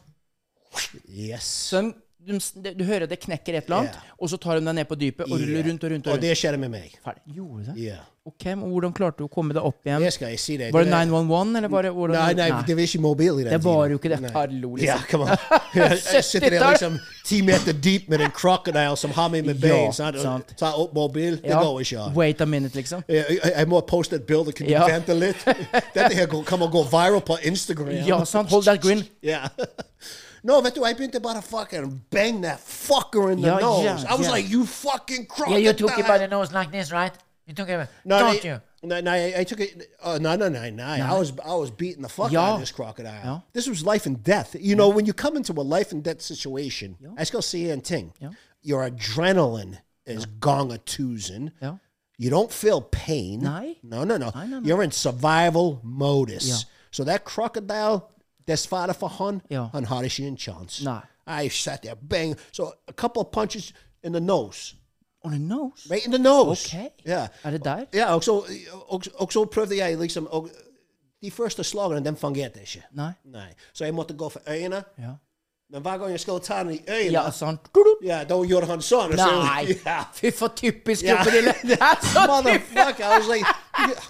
Speaker 1: Yeah. Yes.
Speaker 2: så de, de, Du hører det knekker et eller annet,
Speaker 1: Ja.
Speaker 2: og så tar de deg ned på dypet
Speaker 1: Ja.
Speaker 2: og ruller rundt og rundt.
Speaker 1: Og
Speaker 2: og rundt.
Speaker 1: det skjedde med meg.
Speaker 2: Ferdig. Gjorde det?
Speaker 1: Ja.
Speaker 2: Ok, men Hvordan klarte du å komme deg opp igjen?
Speaker 1: Det skal jeg si deg.
Speaker 2: Um, Var det
Speaker 1: Det-
Speaker 2: 911, eller var det hvordan?
Speaker 1: Nei, nei, det var ikke mobil i den
Speaker 2: Det var
Speaker 1: tiden.
Speaker 2: jo ikke det.
Speaker 1: Nei.
Speaker 2: Hallo, liksom.
Speaker 1: Ja, come on. Jeg jeg sitter der
Speaker 2: 70-tall.
Speaker 1: liksom ti meter dyp med en crocodile som har meg med
Speaker 2: Ja,
Speaker 1: bein. sant?
Speaker 2: sant.
Speaker 1: Ta opp mobil, det
Speaker 2: Ja.
Speaker 1: går ikke an.
Speaker 2: Wait a minute, liksom.
Speaker 1: Jeg, jeg- jeg må poste et bilde. Kan du
Speaker 2: Ja.
Speaker 1: vente litt? Dette her går- kommer å gå viral på Instagram.
Speaker 2: Ja, sant. Hold that grin.
Speaker 1: Ja. No, vet du, jeg begynte bare å fucking bang that fucker in the
Speaker 2: Ja,
Speaker 1: nose.
Speaker 2: ja,
Speaker 1: I was
Speaker 2: ja.
Speaker 1: like, you fucking crocodile.
Speaker 4: Yeah, you took it by the nose like this, right? You took it.
Speaker 1: No,
Speaker 4: don't
Speaker 1: they-
Speaker 4: you?
Speaker 1: No, no, I, I took it. Uh, no, no, no, no. I was, I was beating the fuck out
Speaker 2: Yeah.
Speaker 1: of this crocodile.
Speaker 2: Yeah.
Speaker 1: This was life and death. You know, when you come into a life and death situation, I still see and ting. Your adrenaline is gonga toozing.
Speaker 2: Yeah.
Speaker 1: You don't feel pain.
Speaker 2: No.
Speaker 1: No, no, no.
Speaker 2: No, no, no.
Speaker 1: You're in survival modus.
Speaker 2: Yeah.
Speaker 1: So that crocodile, that's father for hun,
Speaker 2: Yeah.
Speaker 1: hun hardest she in chance.
Speaker 2: No.
Speaker 1: I sat there, bang. So a couple of punches in the nose,
Speaker 2: On the nose?
Speaker 1: right in the nose.
Speaker 2: Ok.
Speaker 1: Yeah.
Speaker 2: Er det der?
Speaker 1: Ja, og så, og, og så prøvde jeg liksom og De første slagene den fungerte ikke.
Speaker 2: Nei.
Speaker 1: Nei. Så jeg måtte gå for øynene.
Speaker 2: Ja.
Speaker 1: Men hver gang jeg skulle ta den i øynene,
Speaker 2: Ja,
Speaker 1: ja.
Speaker 2: sant.
Speaker 1: da gjorde han sånn. og så-
Speaker 2: Nei!
Speaker 1: Ja.
Speaker 2: Fy, for typisk
Speaker 1: Ja.
Speaker 2: krokodille! Det er så typisk!
Speaker 1: Motherfucker! I was like,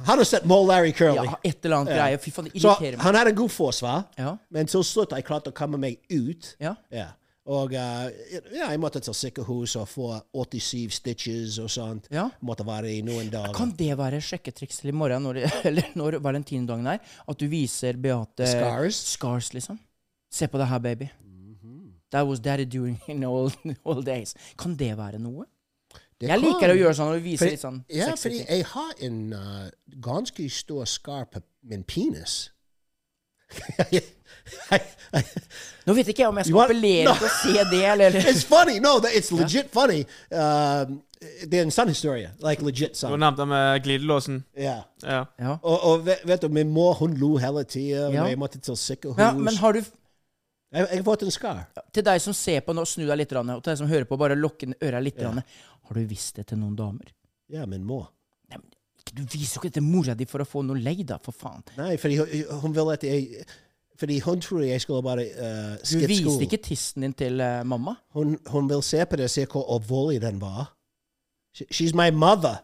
Speaker 1: Har du sett Mo Larry
Speaker 2: Ja,
Speaker 1: Curly?
Speaker 2: et eller annet greie. Fy faen, det
Speaker 1: Så
Speaker 2: irriterer meg.
Speaker 1: han hadde en god forsvar,
Speaker 2: Ja.
Speaker 1: men til slutt jeg klarte å komme meg ut.
Speaker 2: Ja.
Speaker 1: Og eh, ja, jeg måtte til sykehus og få 87 stitches og sånt.
Speaker 2: Ja.
Speaker 1: Måtte være i noen dager.
Speaker 2: Kan det være sjekketriks til i morgen, når, eller når valentindagen er, at du viser Beate
Speaker 1: Scars?
Speaker 2: Scars, liksom? Se på det her, baby. That was daddy doing in old, old days. Kan det være noe?
Speaker 1: Det
Speaker 2: Jeg liker
Speaker 1: kan.
Speaker 2: å gjøre sånn og vise
Speaker 1: Fordi-
Speaker 2: litt sånn
Speaker 1: Ja,
Speaker 2: sexy
Speaker 1: fordi
Speaker 2: ting.
Speaker 1: jeg har en uh, ganske stor skar på min uh, penis.
Speaker 2: Nå vet ikke jeg om jeg
Speaker 1: You
Speaker 2: skal
Speaker 1: want-
Speaker 2: appellere til å se det, eller
Speaker 1: it's funny. No, that- it's legit funny. Um, det er en sann historie. Like legit
Speaker 3: Du har
Speaker 1: sann.
Speaker 3: nevnt det med glidelåsen.
Speaker 1: Ja.
Speaker 3: Ja.
Speaker 2: ja.
Speaker 1: Og, og vet, vet du, min mor hun lo hele tida.
Speaker 2: Ja.
Speaker 1: Ja. uh, Jeg måtte til sykehus.
Speaker 2: ja. Men har du
Speaker 1: jeg, jeg har fått en skar.
Speaker 2: Til deg som ser på nå, snu deg litt, grann, og til deg som hører på, bare lukke øra litt. grann. Har du vist det til noen damer?
Speaker 1: Ja, min mor.
Speaker 2: Nei, men, ikke- du viser jo ikke det til mora di for å få noe lei, da, for faen.
Speaker 1: Nei, fordi hun, hun vil at jeg Fordi hun tror jeg skulle bare uh,
Speaker 2: Du
Speaker 1: skippe
Speaker 2: viste
Speaker 1: skolen.
Speaker 2: ikke tissen din til eh, mamma.
Speaker 1: Hun, hun vil se på det og se hvor alvorlig den var. She, she's my mother.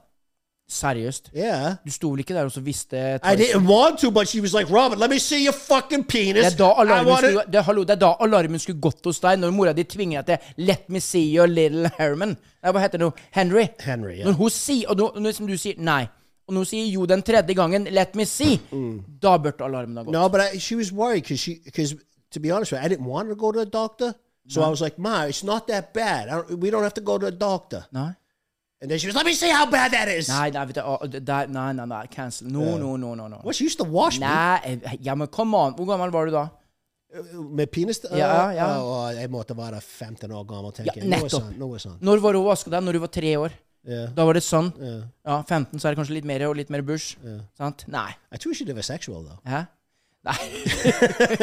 Speaker 2: Seriøst.
Speaker 1: Yeah.
Speaker 2: Du sto vel ikke der og så visste
Speaker 1: I didn't want to, but she was like, Robert, let me see your fucking
Speaker 2: det
Speaker 1: penis.
Speaker 2: er, da
Speaker 1: I
Speaker 2: alarmen
Speaker 1: wanna-
Speaker 2: skulle, det, er- hallo, det er da alarmen skulle gått hos deg, når mora di tvinger deg til 'Let me see your little Herman'. Nei, hva heter det nå? Henry.
Speaker 1: Henry, ja.
Speaker 2: Når hun sier, og nå, når som du sier nei, og nå sier jo den tredje gangen 'Let me see',
Speaker 1: Mm.
Speaker 2: da burde alarmen ha gått.
Speaker 1: No, but I, she was worried because she, because to be honest with you, I didn't want her to go to the doctor. So I was like, Ma, it's not that bad. I don't, we don't have to go to the doctor.
Speaker 2: Nei.
Speaker 1: And then she was, let me see how bad that is.
Speaker 2: Nei, nei, vet du, å, det der, nei, nei, nei, cancel. No, no, no, no, no.
Speaker 1: Well, she used to wash
Speaker 2: Nei, eh, ja, men come on. Hvor gammel var du da?
Speaker 1: me med penis. Uh,
Speaker 2: Ja, ja.
Speaker 1: Og jeg måtte være 15 år gammel, tenker jeg. Noe
Speaker 2: nettopp.
Speaker 1: sånt. Noe sånt.
Speaker 2: Når var hun vaska deg? Når du var tre år?
Speaker 1: Ja.
Speaker 2: Da var det sånn. Ja, 15 så er det kanskje litt mer og litt mer bush. Sant? Nei.
Speaker 1: Jeg tror ikke det var sexual, da.
Speaker 2: Hæ? Nei.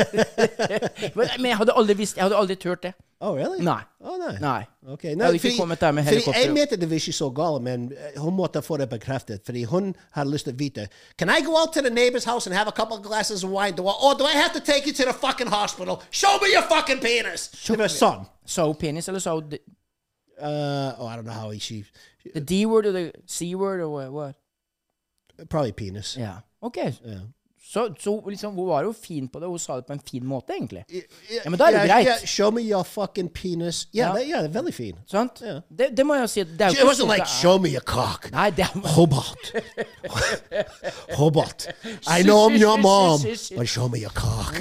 Speaker 2: men men jeg hadde aldri visst Jeg hadde aldri turt det.
Speaker 1: Oh, really?
Speaker 2: Nei.
Speaker 1: Oh, nei.
Speaker 2: Nei.
Speaker 1: Okay,
Speaker 2: Jeg hadde ikke kommet der med
Speaker 1: fordi
Speaker 2: helikopter.
Speaker 1: jeg mente det var ikke så galt, men eh, hun måtte få det bekreftet. Fordi hun hadde lyst til å vite Can I go out to the neighbor's house and have a couple of glasses of wine? Do I, or do I have to take you to the fucking hospital? Show me your fucking penis! Det var sånn.
Speaker 2: Sa hun penis, eller sa hun d-
Speaker 1: Uh, oh, I don't know how she
Speaker 2: the D-word or the C-word or what? what?
Speaker 1: Probably penis.
Speaker 2: Ja. OK. Så, så liksom, hun var jo fin på det. Hun sa det på en fin måte, egentlig. Ja, men da er det
Speaker 1: Yeah,
Speaker 2: greit.
Speaker 1: yeah, show me your fucking penis. Yeah,
Speaker 2: Ja.
Speaker 1: that- yeah, veldig fin.
Speaker 2: Sant?
Speaker 1: Ja.
Speaker 2: Det, det må jeg jo si. Det er jo
Speaker 1: It
Speaker 2: ikke
Speaker 1: wasn't
Speaker 2: sånn
Speaker 1: like
Speaker 2: det er.
Speaker 1: show me your cock.
Speaker 2: Nei, det er
Speaker 1: Hobart. Hobart. I know I'm your mom, but show me your cock.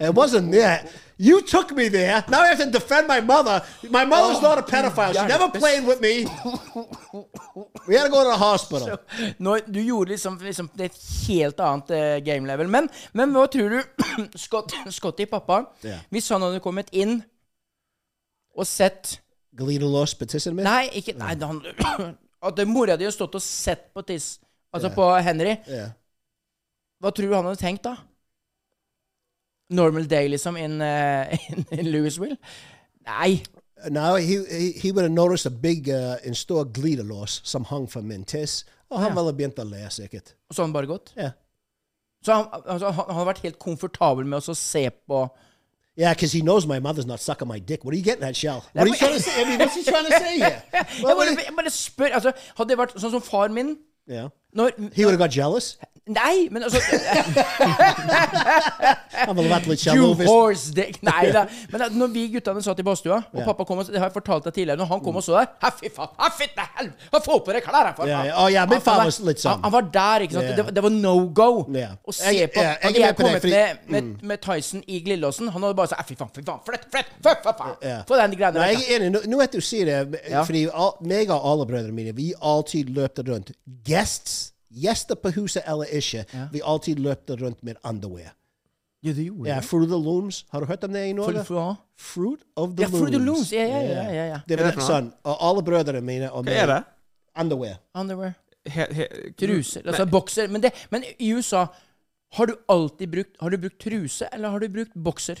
Speaker 1: it wasn't that. You took me there. Now I have to defend my mother. My mother's not a pedophile. She never played with me. We had to go to the hospital.
Speaker 2: Nå, du gjorde liksom, liksom det er et helt annet eh, game level. Men, men hva tror du Scott, Scotty, pappa,
Speaker 1: Ja.
Speaker 2: hvis han hadde kommet inn og sett
Speaker 1: Galita lost petition man.
Speaker 2: Nei, ikke Nei, han, at mora di har stått og sett på tiss Altså på Henry.
Speaker 1: Yeah.
Speaker 2: Hva tror du han hadde tenkt, da? Normal day, liksom, in, eh, in, in Louisville? Nei.
Speaker 1: Now he he, he would have noticed a big uh, in store Galita loss. Some hung from Mintis. Oh, han ville begynt å le, sikkert.
Speaker 2: Og så hadde han bare gått.
Speaker 1: Yeah.
Speaker 2: Så han, altså, han, han hadde vært helt komfortabel med å så se på
Speaker 1: Yeah, because he knows my mother's not sucking my dick. What are you getting at, Shell? What
Speaker 2: That
Speaker 1: are you
Speaker 2: way-
Speaker 1: trying to say? I mean, what's he trying to say here?
Speaker 2: Jeg
Speaker 1: Well, what
Speaker 2: bare,
Speaker 1: are-
Speaker 2: jeg bare spør. Altså, hadde det vært sånn som far min
Speaker 1: yeah.
Speaker 2: når,
Speaker 1: He would have got jealous.
Speaker 2: Nei, men altså
Speaker 1: I'm a lot like
Speaker 2: You
Speaker 1: Shell.
Speaker 2: horse dick. Nei da. Men at når vi guttene satt i badstua, og
Speaker 1: Ja. Mm.
Speaker 2: pappa kom og Det har jeg fortalt deg tidligere. Når han kom og så der «Hæ, Fy faen! hæ, Fytte helvete! Hæ, Få på deg klærne! for
Speaker 1: Ja, ja.
Speaker 2: faen!»
Speaker 1: Å, ja, min
Speaker 2: Han-
Speaker 1: far
Speaker 2: han var-
Speaker 1: was litt sånn.
Speaker 2: Han, han var der, ikke sant.
Speaker 1: Ja.
Speaker 2: Det, var- det var no go.
Speaker 1: Ja.
Speaker 2: Å se
Speaker 1: Jeg-
Speaker 2: på
Speaker 1: ja, jeg er
Speaker 2: Hadde
Speaker 1: med på
Speaker 2: jeg
Speaker 1: det,
Speaker 2: kommet
Speaker 1: fordi- mm.
Speaker 2: med, med, med Tyson i Glillåsen, han hadde bare sagt «Hæ, Fy faen, fy faen! Flytt, flytt! Fy faen! faen.
Speaker 1: Ja.
Speaker 2: Få den greiene
Speaker 1: Nei,
Speaker 2: der.
Speaker 1: jeg er enig. Nå- Nå vet du sier det,
Speaker 2: Ja.
Speaker 1: fordi all, meg og alle brødrene mine, vi alltid løpte rundt. Guests, gjester på huset eller ikke, vi alltid løpte rundt med underwear.
Speaker 2: Ja, det gjorde
Speaker 1: Ja, Fruit of the Looms, har du hørt om det i Norge?
Speaker 2: Fruit- Fruit-
Speaker 1: Fruit of the
Speaker 2: Ja,
Speaker 1: Looms.
Speaker 2: Fruit of the Looms, ja, ja, ja, ja, ja.
Speaker 1: Det
Speaker 3: Hva
Speaker 1: var
Speaker 3: er det for noe?
Speaker 1: sånn, og alle brødrene mine og
Speaker 3: Hva er det?
Speaker 1: underwear.
Speaker 2: Underwear.
Speaker 1: Mm.
Speaker 3: He, he,
Speaker 2: Truser. Altså bokser. Men, det, men i USA har du alltid brukt Har du brukt truse, eller har du brukt bokser?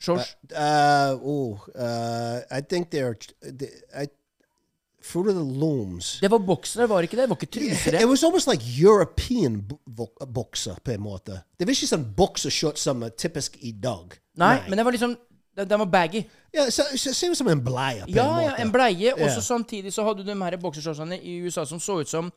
Speaker 2: Shorts?
Speaker 1: Uh, oh, uh, I think they're, they, I, Fruit of the Looms.
Speaker 2: Det var boksere, var ikke det? Det var ikke truser,
Speaker 1: It
Speaker 2: det.
Speaker 1: was almost like European bo- vo- uh, boxer på en måte. Det var ikke sånn boxershort som er typisk i dag.
Speaker 2: Nei, men det var liksom Den, den var baggy.
Speaker 1: Ja, så, så ser ut som en bleie på
Speaker 2: Ja,
Speaker 1: en
Speaker 2: ja,
Speaker 1: måte.
Speaker 2: en bleie. Og
Speaker 1: Ja.
Speaker 2: så samtidig så hadde du de her boksershortsene i USA som så ut som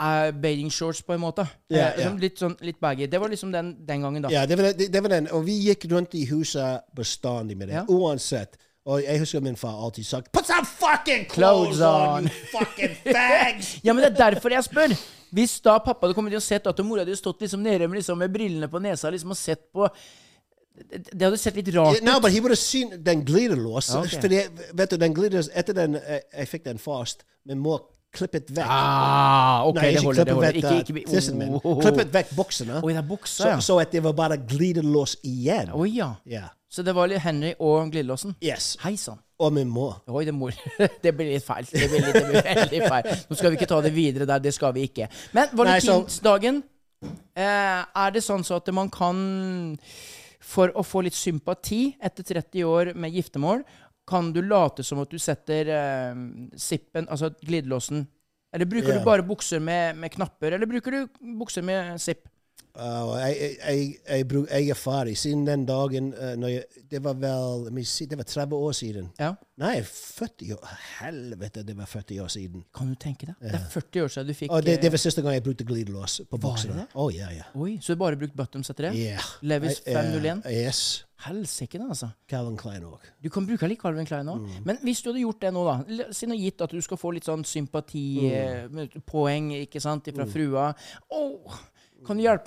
Speaker 2: eh, bathing shorts, på en måte. Eh,
Speaker 1: Ja, ja.
Speaker 2: liksom Litt, sånn, litt baggy. Det var liksom den, den gangen, da.
Speaker 1: Ja, det var, det, det var den. Og vi gikk rundt i huset bestandig med det,
Speaker 2: Ja.
Speaker 1: uansett. Og jeg husker min far alltid sagt Put some fucking clothes,
Speaker 2: Clothes
Speaker 1: on,
Speaker 2: on."
Speaker 1: you fucking fags!
Speaker 2: Ja, men det er derfor jeg spør. Hvis da pappa hadde kommet inn og sett at mora hadde stått liksom nede med, liksom, med brillene på nesa liksom, og sett på Det, det hadde sett litt rart ut.
Speaker 1: No, but he would have seen den glidelås.
Speaker 2: Ok.
Speaker 1: Fordi, vet du, den glidelås Etter eh, den Jeg, jeg fikk den først, men mor klippet vekk.
Speaker 2: Ah, ok,
Speaker 1: Nei,
Speaker 2: det
Speaker 1: ikke
Speaker 2: holder. det
Speaker 1: klippet
Speaker 2: holder.
Speaker 1: vekk
Speaker 2: Ikke, ikke,
Speaker 1: eh, tissen min.
Speaker 2: Oh.
Speaker 1: Klippet vekk buksene.
Speaker 2: Oi, det er buksa,
Speaker 1: så,
Speaker 2: ja.
Speaker 1: så at det var bare glidelås igjen.
Speaker 2: Oi, ja.
Speaker 1: Ja.
Speaker 2: Så det var litt Henry og Glidelåsen?
Speaker 1: Yes. Oh,
Speaker 2: Hei sann.
Speaker 1: Og min mor.
Speaker 2: Oi, det, mor. det blir litt feil. Det blir, litt, det blir veldig feil. Nå skal vi ikke ta det videre der, det skal vi ikke. Men
Speaker 1: Nei, så-
Speaker 2: valentinsdagen, eh, er det sånn så at man kan, for å få litt sympati etter 30 år med giftermål, kan du late som at du setter eh, sippen, altså glidelåsen Eller bruker
Speaker 1: Ja.
Speaker 2: du bare bukser med, med knapper, eller bruker du bukser med sipp?
Speaker 1: Uh, og jeg, jeg, jeg, jeg, bru- jeg er ferdig. Siden den dagen uh, når jeg, Det var vel let me see, Det var 30 år siden.
Speaker 2: Ja.
Speaker 1: Nei, 40 år Helvete, det var 40 år siden.
Speaker 2: Kan du tenke deg? Det er 40 år siden du fikk
Speaker 1: Og det,
Speaker 2: eh,
Speaker 1: det var siste gang jeg brukte glidelås på buksene.
Speaker 2: det?
Speaker 1: Oh, ja, ja.
Speaker 2: eh, Oi, så du bare brukt bottoms etter det?
Speaker 1: Yeah.
Speaker 2: Levis
Speaker 1: I- eh,
Speaker 2: 501?
Speaker 1: Yes.
Speaker 2: Helsike, da, altså.
Speaker 1: Calvin Klein òg.
Speaker 2: Du kan bruke litt Calvin Klein nå. Men hvis du hadde gjort det nå, da l- Siden og gitt at du skal få litt sånn sympatipoeng, ikke sant, fra frua Åh, Kan du hjelpe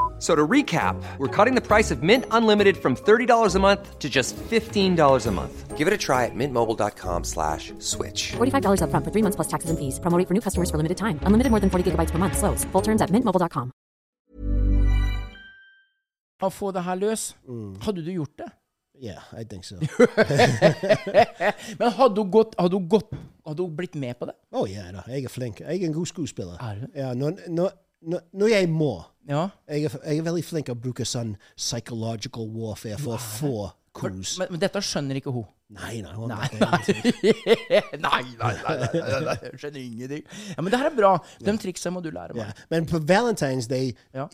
Speaker 5: So to recap, we're cutting the price of Mint Unlimited from $30 a month to just $15 a month. Give it a try at mintmobile.com slash switch.
Speaker 6: $45 upfront for three months plus taxes and fees. Promo rate for new customers for limited time. Unlimited more than 40 gigabytes per month. Slows. Full terms at mintmobile.com.
Speaker 2: Å få det her løs. Hadde du gjort det?
Speaker 1: Yeah, I think so.
Speaker 2: Men hadde hun gått Hadde hun, gått, hadde hun blitt med på det?
Speaker 1: Å ja da, jeg er flink. Jeg er en god skuespiller.
Speaker 2: Er du?
Speaker 1: Ja, når, når, når, når er jeg må.
Speaker 2: Ja.
Speaker 1: Jeg er, jeg er veldig flink til å bruke sånn psychological warfare for å få kos.
Speaker 2: Men, men dette skjønner ikke hun.
Speaker 1: Nei, nei. er
Speaker 2: Nei,
Speaker 1: nei.
Speaker 2: nei, nei, nei, nei, nei, nei. Jeg skjønner ingenting. Ja, men det her er bra. De triksa må du lære
Speaker 1: Ja.
Speaker 2: meg.
Speaker 1: Men på Valentine's Day
Speaker 2: Ja.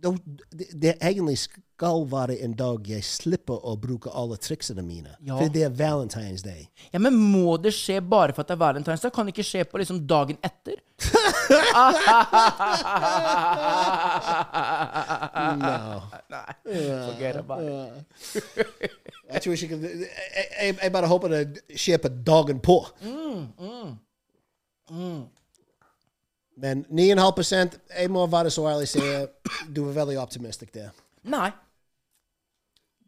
Speaker 1: da- det, det egentlig skal være en dag jeg slipper å bruke alle triksene mine.
Speaker 2: Ja.
Speaker 1: For det er Valentine's Day.
Speaker 2: ja, Men må det skje bare for at det er valentines? Da kan det ikke skje på liksom dagen etter? Nei. Forget about it.
Speaker 1: Jeg tror ikke Jeg, jeg, jeg bare håper det skjer på dagen på. Men 9,5 Jeg må være så ærlig å si du er veldig optimistisk der.
Speaker 2: Nei.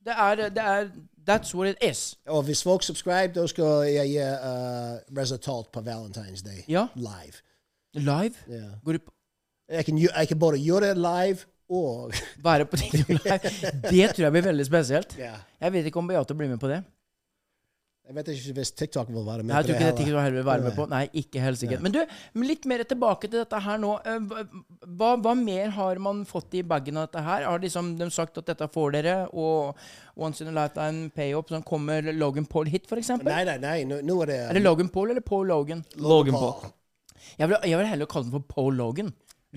Speaker 2: Det er, det er That's what it is.
Speaker 1: Og hvis folk subscriber, da skal jeg gi eh, resultat på Valentine's Day
Speaker 2: Ja.
Speaker 1: live.
Speaker 2: Live.
Speaker 1: Ja.
Speaker 2: Går du på
Speaker 1: Jeg kan, gjø- jeg kan både gjøre det live og
Speaker 2: Være på TikTok live. Det tror jeg blir veldig spesielt.
Speaker 1: Ja.
Speaker 2: Jeg vet ikke om Beate blir med på det.
Speaker 1: Jeg vet ikke hvis TikTok vil være med
Speaker 2: Jeg tror ikke det
Speaker 1: heller.
Speaker 2: TikTok heller vil være med på. Nei, ikke helt sikkert. Men du, litt mer tilbake til dette her nå. Eh, Hva, hva mer har man fått i bagen av dette her? Har liksom de sagt at dette får dere, og Once in a Lifetime payoff, sånn kommer Logan Paul hit, for eksempel?
Speaker 1: Nei, nei, nei. Nå, nå er det
Speaker 2: Er det Logan Paul eller Paul Logan?
Speaker 3: Logan Paul.
Speaker 2: Jeg vil, jeg vil heller kalle den for Paul Logan.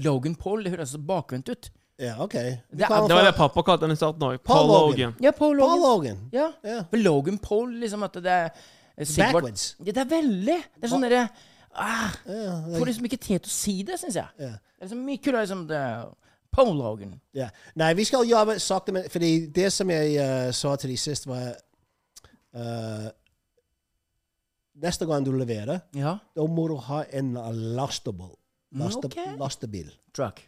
Speaker 2: Logan Paul, det høres så bakvendt ut.
Speaker 1: Ja, OK. Vi
Speaker 2: Det er-
Speaker 1: kaller
Speaker 3: Det var det
Speaker 1: for
Speaker 3: pappa kalte han i starten òg.
Speaker 1: Paul
Speaker 3: Paul
Speaker 1: Logan.
Speaker 3: Logan.
Speaker 2: Ja, Paul
Speaker 1: Paul
Speaker 2: Logan.
Speaker 1: Logan.
Speaker 2: Ja.
Speaker 1: Ja.
Speaker 2: For Logan Paul, liksom at det er Sigvard-
Speaker 1: backwards.
Speaker 2: Ja, det er veldig. Det er sånn derre ah,
Speaker 1: Ja,
Speaker 2: Får liksom ikke tid til å si det, syns jeg.
Speaker 1: Ja.
Speaker 2: Det er liksom mye kulere liksom det, er Paul Logan.
Speaker 1: Ja. Nei, vi skal jobbe sakte, men fordi det som jeg eh, sa til de sist, var eh, Neste gang du leverer,
Speaker 2: Ja.
Speaker 1: da må du ha en lastable.
Speaker 2: Mm,
Speaker 1: Laste,
Speaker 2: ok.
Speaker 1: Lastebil.
Speaker 2: Truck.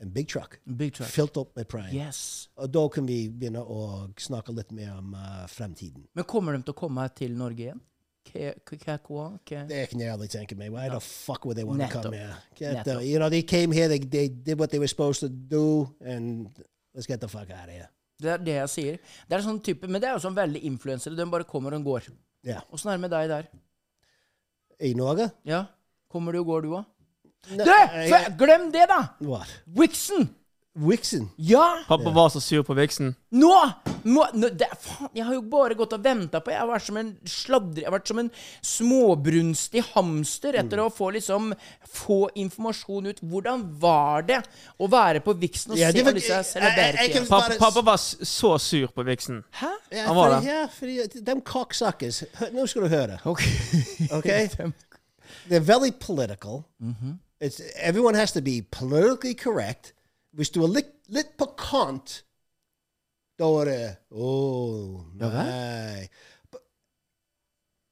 Speaker 1: En big truck.
Speaker 2: Big truck.
Speaker 1: Fylt opp med prime.
Speaker 2: Yes.
Speaker 1: Og da kan vi begynne å snakke litt mer om eh, fremtiden.
Speaker 2: Men kommer de til å komme til Norge igjen? K- k- k- k- k-
Speaker 1: Det kan jeg aldri tenke meg. Why the fuck would they want to come
Speaker 2: Nettopp.
Speaker 1: here? Get the,
Speaker 2: Nettopp.
Speaker 1: you know, they came here, they, they did what they were supposed to do, and let's get the fuck out of here.
Speaker 2: Det er det jeg sier. Det er sånn type, Men det er jo sånn veldig influensere. De bare kommer og går.
Speaker 1: Ja.
Speaker 2: Åssen er det med deg der?
Speaker 1: I Norge?
Speaker 2: Ja? Kommer du og går, du òg?
Speaker 1: Ne-
Speaker 2: Du! fe- Glem det, da!
Speaker 1: What?
Speaker 2: Wixon!
Speaker 1: Wixen?
Speaker 2: Ja!
Speaker 3: Pappa var så sur på Vixen.
Speaker 2: Nå! må, nå det, faen, jeg har jo bare gått og venta på Jeg har vært som en sladre... Jeg har vært som en småbrunstig hamster etter
Speaker 1: Mm.
Speaker 2: å få liksom få informasjon ut. Hvordan var det å være på Vixen og
Speaker 1: Ja,
Speaker 2: se
Speaker 1: det var-
Speaker 2: alle disse
Speaker 1: jeg- jeg- jeg kan-
Speaker 2: celebertiene?
Speaker 3: Pappa,
Speaker 1: Bare s-
Speaker 3: pappa var s- så sur på Vixen.
Speaker 2: Hæ?
Speaker 1: Ja,
Speaker 3: Han var
Speaker 1: fordi-
Speaker 3: det.
Speaker 1: Ja, fordi de cocksuckers. Hør- Nå skal du høre.
Speaker 2: Ok.
Speaker 1: Okay? They're very political. It's everyone has to be politically correct. Hvis du er litt, litt pikant, da er det oh,
Speaker 2: Ja, hva?
Speaker 1: nei. But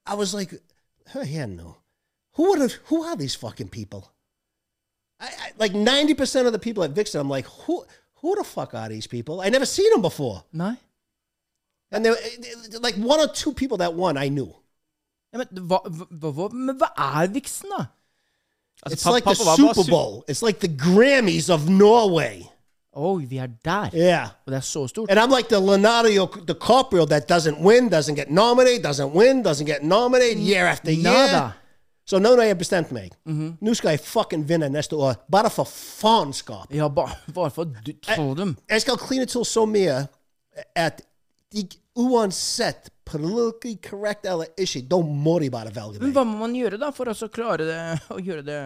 Speaker 1: I was like, hør her nå. Who are, who are these fucking people? I, I, like 90% of the people at Vixen, I'm like, who, who the fuck are these people? I never seen them before.
Speaker 2: Nei.
Speaker 1: And there, eh, like one or two people that won, I knew.
Speaker 2: Ja, men, hva, hva, hva, men hva er Vixen, da?
Speaker 3: Altså,
Speaker 1: It's
Speaker 3: pa-
Speaker 1: like the
Speaker 3: pappa var bare
Speaker 1: Super
Speaker 3: sur-
Speaker 1: Bowl. It's like the Grammys of Norway.
Speaker 2: Oi, vi er der.
Speaker 1: Yeah.
Speaker 2: Og det er så stort.
Speaker 1: And I'm like the Leonardo DiCaprio that doesn't win, doesn't get nominated, doesn't win, doesn't get nominated year after year.
Speaker 2: Nada.
Speaker 1: So no, no, jeg bestemt meg. Nå skal jeg fucking vinne neste år, bare for faenskap.
Speaker 2: Ja, bare bare for å tro dem.
Speaker 1: Jeg skal kline til så mye at de, uansett politically correct eller ikke, da må de bare velge
Speaker 2: Men
Speaker 1: meg.
Speaker 2: hva må man gjøre, da, for å så klare det, å gjøre det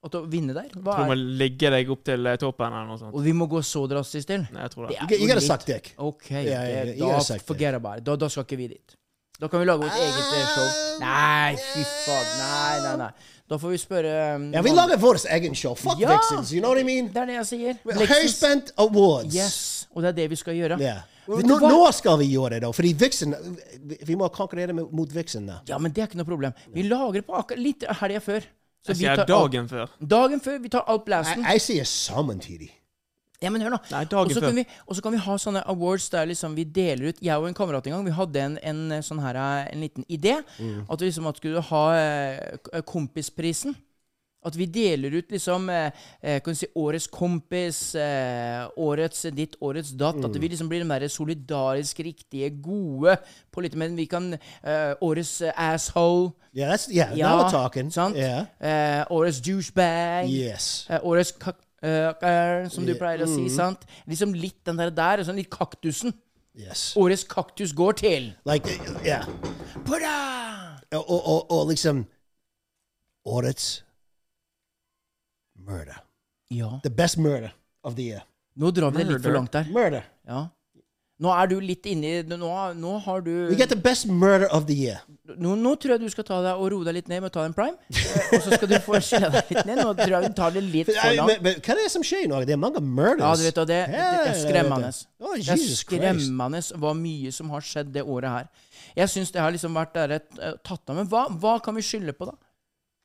Speaker 2: Å å vinne der? Hva
Speaker 3: Du må
Speaker 2: er,
Speaker 3: ligge deg opp til eh, toppen eller noe sånt.
Speaker 2: og vi må gå så drastisk til?
Speaker 3: Nei, jeg tror
Speaker 2: Det
Speaker 3: det.
Speaker 2: er
Speaker 1: You
Speaker 2: jo
Speaker 1: gotta
Speaker 2: litt-
Speaker 1: suck dick.
Speaker 2: Ok,
Speaker 1: ja, ja,
Speaker 2: det,
Speaker 1: you gotta
Speaker 2: da
Speaker 1: suck dick.
Speaker 2: forget about it. Da, da skal ikke vi dit. Da kan vi lage vårt eget eh, show. Nei, fy faen. Nei, nei, nei. Da får vi spørre um,
Speaker 1: Yeah, we love it for this egg and show. Fuck
Speaker 2: Yeah.
Speaker 1: Vixens, you know what I mean?
Speaker 2: Det er det jeg sier.
Speaker 1: Her
Speaker 2: Lexus.
Speaker 1: spent awards.
Speaker 2: Yes. Og det er det vi skal gjøre.
Speaker 1: Yeah.
Speaker 2: Vet
Speaker 1: Nå,
Speaker 2: du hva?
Speaker 1: nå skal vi gjøre det, da. Fordi Vixen vi- Vi må konkurrere med- mot Vixen nå.
Speaker 2: Ja, men det er ikke noe problem. Vi lager på akkurat litt helga før. Så
Speaker 3: Jeg sier dagen før.
Speaker 2: dagen før. Vi tar alt blasten.
Speaker 1: Jeg jeg sier samtidig.
Speaker 2: Ja, men hør nå.
Speaker 3: Nei, dagen
Speaker 2: Og så
Speaker 3: før.
Speaker 2: kan vi- Og så kan vi ha sånne awards der liksom vi deler ut Jeg og en kamerat en gang, vi hadde en, en eh, sånn her eh, En liten idé.
Speaker 1: Mm.
Speaker 2: At vi liksom at skulle ha eh, k- eh, Kompisprisen. At vi deler ut liksom eh, eh, kan du si, Årets kompis, eh, årets ditt, årets datt.
Speaker 1: Mm.
Speaker 2: At vi liksom blir de mer solidarisk riktige, gode på litt Men vi kan eh, Årets eh, asshole.
Speaker 1: Yeah, that's, yeah, now we're talking.
Speaker 2: Sant?
Speaker 1: Yeah.
Speaker 2: Eh, årets douchebag.
Speaker 1: Yes.
Speaker 2: Eh, årets kak... eh, eh, som du pleier å si,
Speaker 1: mm.
Speaker 2: sant? Liksom litt den der der, sånn litt kaktusen.
Speaker 1: Yes.
Speaker 2: Årets kaktus går til
Speaker 1: Like, yeah.
Speaker 2: Bra!
Speaker 1: Or, or, or like some audits. Murder.
Speaker 2: Ja.
Speaker 1: The best murder of the year.
Speaker 2: Nå drar vi det litt for langt der.
Speaker 1: Murder.
Speaker 2: Ja. Nå er du litt inni Nå, nå har du
Speaker 1: We get the best murder of the year.
Speaker 2: nå, nå tror jeg du skal ta deg og roe deg litt ned med å ta en prime. Eh, Og så skal du få skjelle deg litt ned. Nå tror jeg du tar det litt for
Speaker 1: I,
Speaker 2: langt.
Speaker 1: men, men, hva er det som skjer i Norge? Det er mange murders.
Speaker 2: Ja, du vet, og det, det
Speaker 1: Ja,
Speaker 2: er skremmende.
Speaker 1: det- Å,
Speaker 2: Det er
Speaker 1: Jesus Christ.
Speaker 2: skremmende hva mye som har skjedd det året her. Jeg syns det har liksom vært der et, eh, tatt av. Men hva, hva kan vi skylde på, da?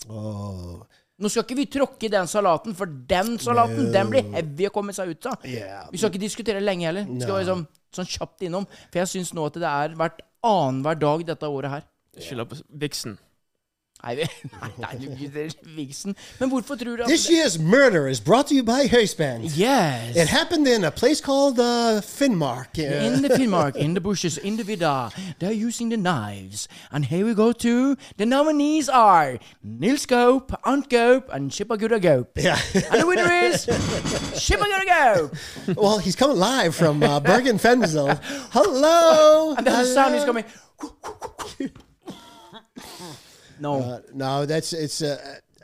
Speaker 1: Oh,
Speaker 2: Nå skal ikke vi tråkke i den salaten, for den salaten den blir heavy å komme seg ut av.
Speaker 1: yeah.
Speaker 2: Vi skal ikke diskutere lenge heller. Vi skal
Speaker 1: Nei.
Speaker 2: liksom sånn kjapt innom. For jeg syns nå at det er hvert annenhver dag dette året her.
Speaker 3: Skylder på Vixen.
Speaker 2: Nei, vi, nei, nei du gutter, Vigsen. Men hvorfor tror du at
Speaker 1: This year's murder is brought to you by Hayspan.
Speaker 2: Yes!
Speaker 1: It happened in a place called uh, Finnmark. Yeah.
Speaker 2: In the Finnmark, in the bushes, in the vidda, they're using the knives. And here we go to the nominees are Nils Gope, Ant Gope, and Shipagura Gope.
Speaker 1: Yeah.
Speaker 2: And the winner is Shipagura Gope.
Speaker 1: well, he's coming live from uh, Bergen Fensel. Hello.
Speaker 2: And there's a sound is
Speaker 1: hello.
Speaker 2: coming. No.
Speaker 1: Uh, no, that's it's. Uh,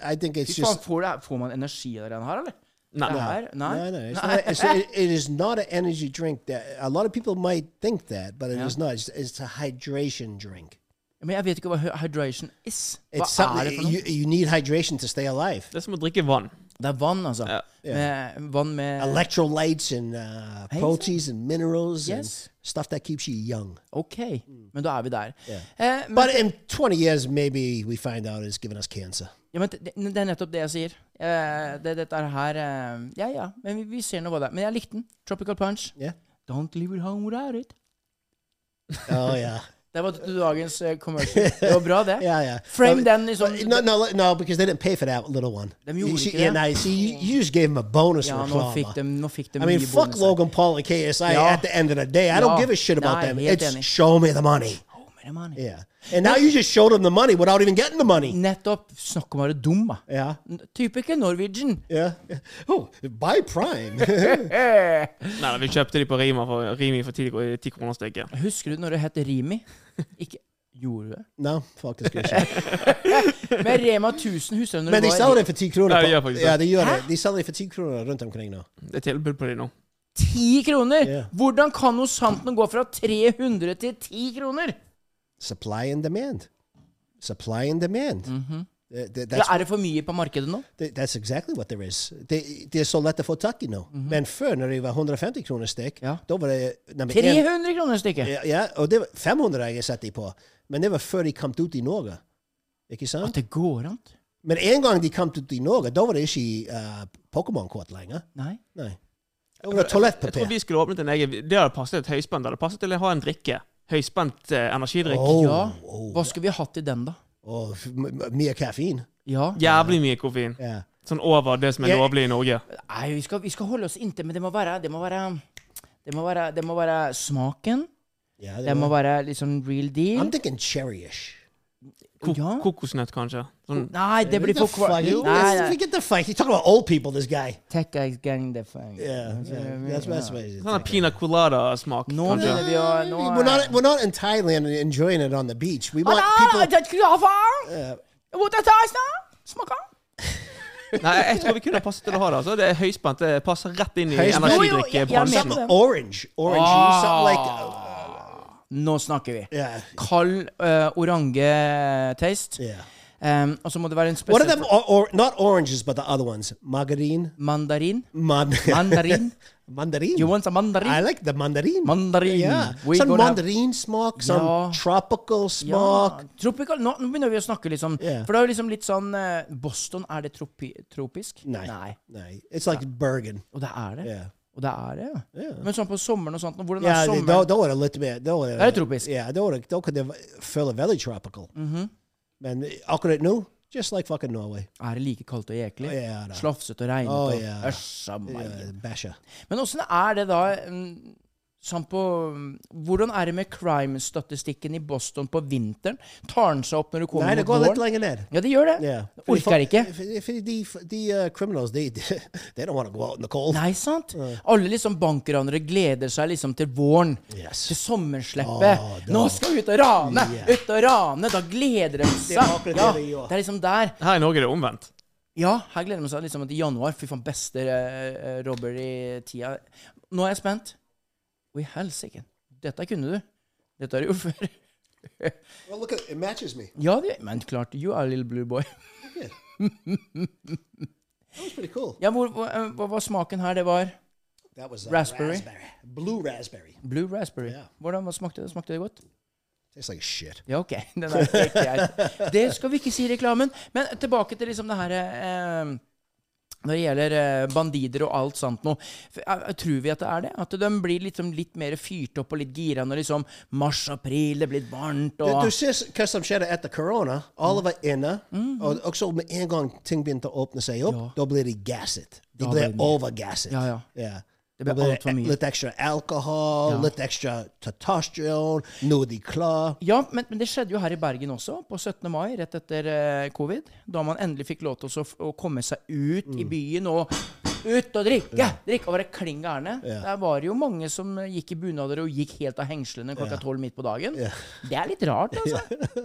Speaker 1: I think it's
Speaker 2: Fy faen,
Speaker 1: just.
Speaker 2: får, det, får man energi av den her, eller?
Speaker 3: Nei.
Speaker 2: Det her? Nei.
Speaker 1: No, no, it's not, it's, it, it is not an energy drink. That a lot of people might think that, but it is not. It's, it's a hydration drink.
Speaker 2: Men jeg vet ikke hva hy- hydration is.
Speaker 1: It's
Speaker 2: Hva er det
Speaker 1: something
Speaker 2: for noe?
Speaker 1: you, you need hydration to stay alive.
Speaker 3: Det er som å drikke vann.
Speaker 2: Det er vann, altså.
Speaker 3: Ja.
Speaker 2: Med, vann med
Speaker 1: Electrolytes and uh, proteins and minerals
Speaker 2: Yes.
Speaker 1: and stuff that keeps you young.
Speaker 2: Ok, men da er vi der. Eh, men,
Speaker 1: But in 20 years, maybe we find out it's giving us cancer.
Speaker 2: ja, men det, det er nettopp det jeg sier. Eh, det, dette er her eh, Ja, ja, men vi, vi ser nå hva det er. Men jeg likte den. Tropical Punch.
Speaker 1: Yeah.
Speaker 2: Don't leave it home without it.
Speaker 1: Oh yeah.
Speaker 2: Det var dagens eh, commercial. Det var bra, det.
Speaker 1: Yeah, yeah.
Speaker 2: Frame
Speaker 1: No,
Speaker 2: den i sånn
Speaker 1: No, no, no, because they didn't pay for that little one.
Speaker 2: Them
Speaker 1: You-
Speaker 2: Eureka,
Speaker 1: she-
Speaker 2: yeah.
Speaker 1: yeah, no, see, you, you just gave him a bonus
Speaker 2: Ja, nå
Speaker 1: reklama.
Speaker 2: fikk de, nå fikk de
Speaker 1: I mean,
Speaker 2: mye
Speaker 1: fuck
Speaker 2: bonuser.
Speaker 1: Logan Paul and KSI
Speaker 2: Ja.
Speaker 1: at the end of the day. I don't
Speaker 2: Ja.
Speaker 1: give a shit about
Speaker 2: Nei,
Speaker 1: them.
Speaker 2: helt
Speaker 1: It's
Speaker 2: enig.
Speaker 1: show me the money.
Speaker 2: Oh, men det er money.
Speaker 1: Yeah. And now you just showed them the money without even getting the money.
Speaker 2: Nettopp. Snakk om å være dum, da.
Speaker 1: Yeah.
Speaker 2: Typiker Norwegian.
Speaker 1: Yeah. Oh, buy Prime.
Speaker 3: Nei, nei, vi kjøpte de på Rima for, Rimi for 10 10 kroner stykket.
Speaker 2: Husker du når det het Rimi? Ikke Gjorde du det?
Speaker 1: no, fuck this good shit.
Speaker 2: Men Rema 1000, husker du når
Speaker 1: Men
Speaker 2: det
Speaker 1: de
Speaker 2: var
Speaker 1: selger det for 10 kroner.
Speaker 3: Ja,
Speaker 1: på-
Speaker 3: de gjør faktisk det.
Speaker 1: Ja, de gjør det. De selger det for 10 kroner rundt omkring nå.
Speaker 3: Det er tilbud på de nå.
Speaker 2: ti kroner!
Speaker 1: Ja.
Speaker 2: Hvordan kan noe sant noe gå fra 300 til 10 kroner?
Speaker 1: Supply and demand. Supply and demand. Th- th- that's,
Speaker 2: Mhm. Eller er det for mye på markedet nå?
Speaker 1: th- that's exactly what there is. Det det er så lett å få tak i nå. Men før, når det var 150 kroner stykk,
Speaker 2: Mhm. Ja.
Speaker 1: da var det nummer én
Speaker 2: 300 kroner stykket!
Speaker 1: Ja, ja, og det var 500 jeg har sett de på. Men det var før de kom ut i Norge. Ikke sant?
Speaker 2: At det går an?
Speaker 1: Men en gang de kom ut i Norge, da var det ikke eh, Pokémon-kort lenger.
Speaker 2: Nei.
Speaker 1: Nei. Det var
Speaker 3: Jeg tror
Speaker 1: toalettpapir.
Speaker 3: vi skulle åpnet en egen Det hadde passet et høyspent. Det hadde passet til å ha en drikke. Høyspent eh, energidrikk.
Speaker 1: Åh,
Speaker 2: Ja.
Speaker 1: åh,
Speaker 2: Hva skulle vi hatt i den, da?
Speaker 1: åh, f- m- m- mye kaffein.
Speaker 2: Ja.
Speaker 3: Jævlig mye koffein.
Speaker 1: Ja.
Speaker 3: Sånn over det som er
Speaker 1: Jeg-
Speaker 3: lovlig i Norge.
Speaker 2: Nei, vi skal, vi skal holde oss inntil, men det må være Det må være, det må være, det må være smaken.
Speaker 1: Ja, det
Speaker 2: Det må
Speaker 1: var-
Speaker 2: være liksom real deal.
Speaker 1: I'm thinking cherry-ish.
Speaker 3: Ko
Speaker 2: Ja.
Speaker 3: Kokosnøtt, kanskje. Sånn
Speaker 2: Nei, det blir
Speaker 1: Get the
Speaker 2: for kva-
Speaker 1: fuck-
Speaker 2: Nei,
Speaker 1: you- Ah,
Speaker 2: nei.
Speaker 1: Get the fuck. He's talking about old people, this guy.
Speaker 2: Tech guys gang the fuck.
Speaker 1: Yeah, yeah, that's that's what he's
Speaker 3: sånn
Speaker 1: thinking.
Speaker 3: pina colada-smak,
Speaker 2: Nå
Speaker 3: kanskje.
Speaker 2: begynner vi å nå er-
Speaker 1: We're not we're not in Thailand and enjoying it on the beach. We want
Speaker 2: Anna,
Speaker 1: people. uh,
Speaker 2: det er kraffa! What is this now? Smaka.
Speaker 3: Nei, jeg tror vi kunne passet til å ha det. Altså. Det er høyspent. Det passer rett inn i
Speaker 1: Høyspent.
Speaker 2: Jo, jo, jeg- jeg
Speaker 3: energidrikkebransjen.
Speaker 2: mener-
Speaker 1: Something orange, orangey, something like. uh,
Speaker 2: Nå snakker vi.
Speaker 1: Yeah.
Speaker 2: Kald eh, orange eh, taste.
Speaker 1: Yeah.
Speaker 2: Em, og så må det være en
Speaker 1: What are
Speaker 2: spesiell
Speaker 1: them? Or, or not oranges, but the other ones. Margarine.
Speaker 2: mandarin.
Speaker 1: Man-
Speaker 2: Mandarin.
Speaker 1: mandarin.
Speaker 2: You want some mandarin?
Speaker 1: I like the mandarin.
Speaker 2: Mandarin.
Speaker 1: Yeah.
Speaker 2: We
Speaker 1: some
Speaker 2: gonna have-
Speaker 1: mandarin smoke, some
Speaker 2: Ja.
Speaker 1: tropical smoke.
Speaker 2: Ja, tropical. Nå, nå begynner vi å snakke litt sånn
Speaker 1: Ja.
Speaker 2: For det er jo liksom litt sånn eh, Boston, er det tropi tropisk?
Speaker 1: No. No. It's like Bergen.
Speaker 2: Og det er det.
Speaker 1: Yeah.
Speaker 2: Og det er det, ja.
Speaker 1: Ja.
Speaker 2: Men sånn på sommeren og sånt, nå, hvordan
Speaker 1: Yeah,
Speaker 2: er
Speaker 1: they,
Speaker 2: sommeren?
Speaker 1: don't, don't want to let me. Don't want
Speaker 2: Very tropisk.
Speaker 1: Yeah, don't want to. Don't could they feel a very tropical. Mm-hmm. Man, how could it know? Just like fucking Norway.
Speaker 2: Er det like kaldt og jeklig?
Speaker 1: Ja, da.
Speaker 2: Slafsete og regnete
Speaker 1: Å,
Speaker 2: og
Speaker 1: ja.
Speaker 2: Æsja meg.
Speaker 1: Yeah, Basha.
Speaker 2: Men åssen er det da mm, Sånn på mm, Hvordan er det med crime-statistikken i Boston på vinteren? Tar den seg opp når
Speaker 1: Nei,
Speaker 2: du kommer
Speaker 1: det
Speaker 2: mot
Speaker 1: går litt
Speaker 2: våren?
Speaker 1: lenger ned.
Speaker 2: Ja, det gjør det.
Speaker 1: Yeah.
Speaker 2: Orker ikke.
Speaker 1: Fordi- fordi de, de uh, criminals, they, they don't want to go out in the cold.
Speaker 2: Nei, sant? Alle liksom bankranere gleder seg liksom til våren.
Speaker 1: Yes.
Speaker 2: Til sommersleppet.
Speaker 1: Ah, da.
Speaker 2: Nå skal vi ut og rane!
Speaker 1: Yeah.
Speaker 2: Ut og rane! Da gleder de
Speaker 1: Det er
Speaker 2: seg.
Speaker 1: akkurat det
Speaker 2: Ja,
Speaker 1: de gjør.
Speaker 2: det er liksom der.
Speaker 3: Her i Norge er det omvendt.
Speaker 2: Ja, her gleder de seg liksom til januar. Fy faen, beste uh, robbery-tida. Nå er jeg spent. Oi, helsike. Dette kunne du. Dette har du gjort før.
Speaker 1: Well, look at it matches me.
Speaker 2: Ja, det, men klart. You are a little blue boy.
Speaker 1: That was pretty cool.
Speaker 2: Ja, hvor, hva, hva var smaken her? Det var
Speaker 1: That was uh,
Speaker 2: Raspberry.
Speaker 1: blue raspberry.
Speaker 2: blue raspberry.
Speaker 1: Ja.
Speaker 2: Hvordan hva smakte det? Smakte det godt?
Speaker 1: Tastes like shit.
Speaker 2: Ja, ok. Den er helt greit. Det skal vi ikke si i reklamen. Men tilbake til liksom det her eh, Når det gjelder eh, bandider og alt sånt noe. For, eh, Tror vi at det er det? At de blir liksom litt mer fyrt opp og litt gira når liksom mars-april, det blir varmt
Speaker 1: Du,
Speaker 2: og
Speaker 1: du ser hva som skjedde etter korona. Alle var inne.
Speaker 2: Mm-hmm.
Speaker 1: Og også med en gang ting begynte å åpne seg opp, da ble de gasset. De
Speaker 2: Da
Speaker 1: ble
Speaker 2: ble de-
Speaker 1: overgasset.
Speaker 2: Ja, ja. Det ble
Speaker 1: Da
Speaker 2: alt for mye.
Speaker 1: Litt ekstra alkohol, litt ekstra testosteron, nå er de klar.
Speaker 2: Ja, men, men det skjedde jo her i Bergen også, på 17. mai, rett etter eh, covid. Da man endelig fikk lov til å, f- å komme seg ut
Speaker 3: Mm.
Speaker 2: i byen og ut og drikke! drikke og være kling gærne. Der var det jo mange som eh, gikk i bunader og gikk helt av hengslene klokka tolv midt på dagen. Det er litt rart, altså.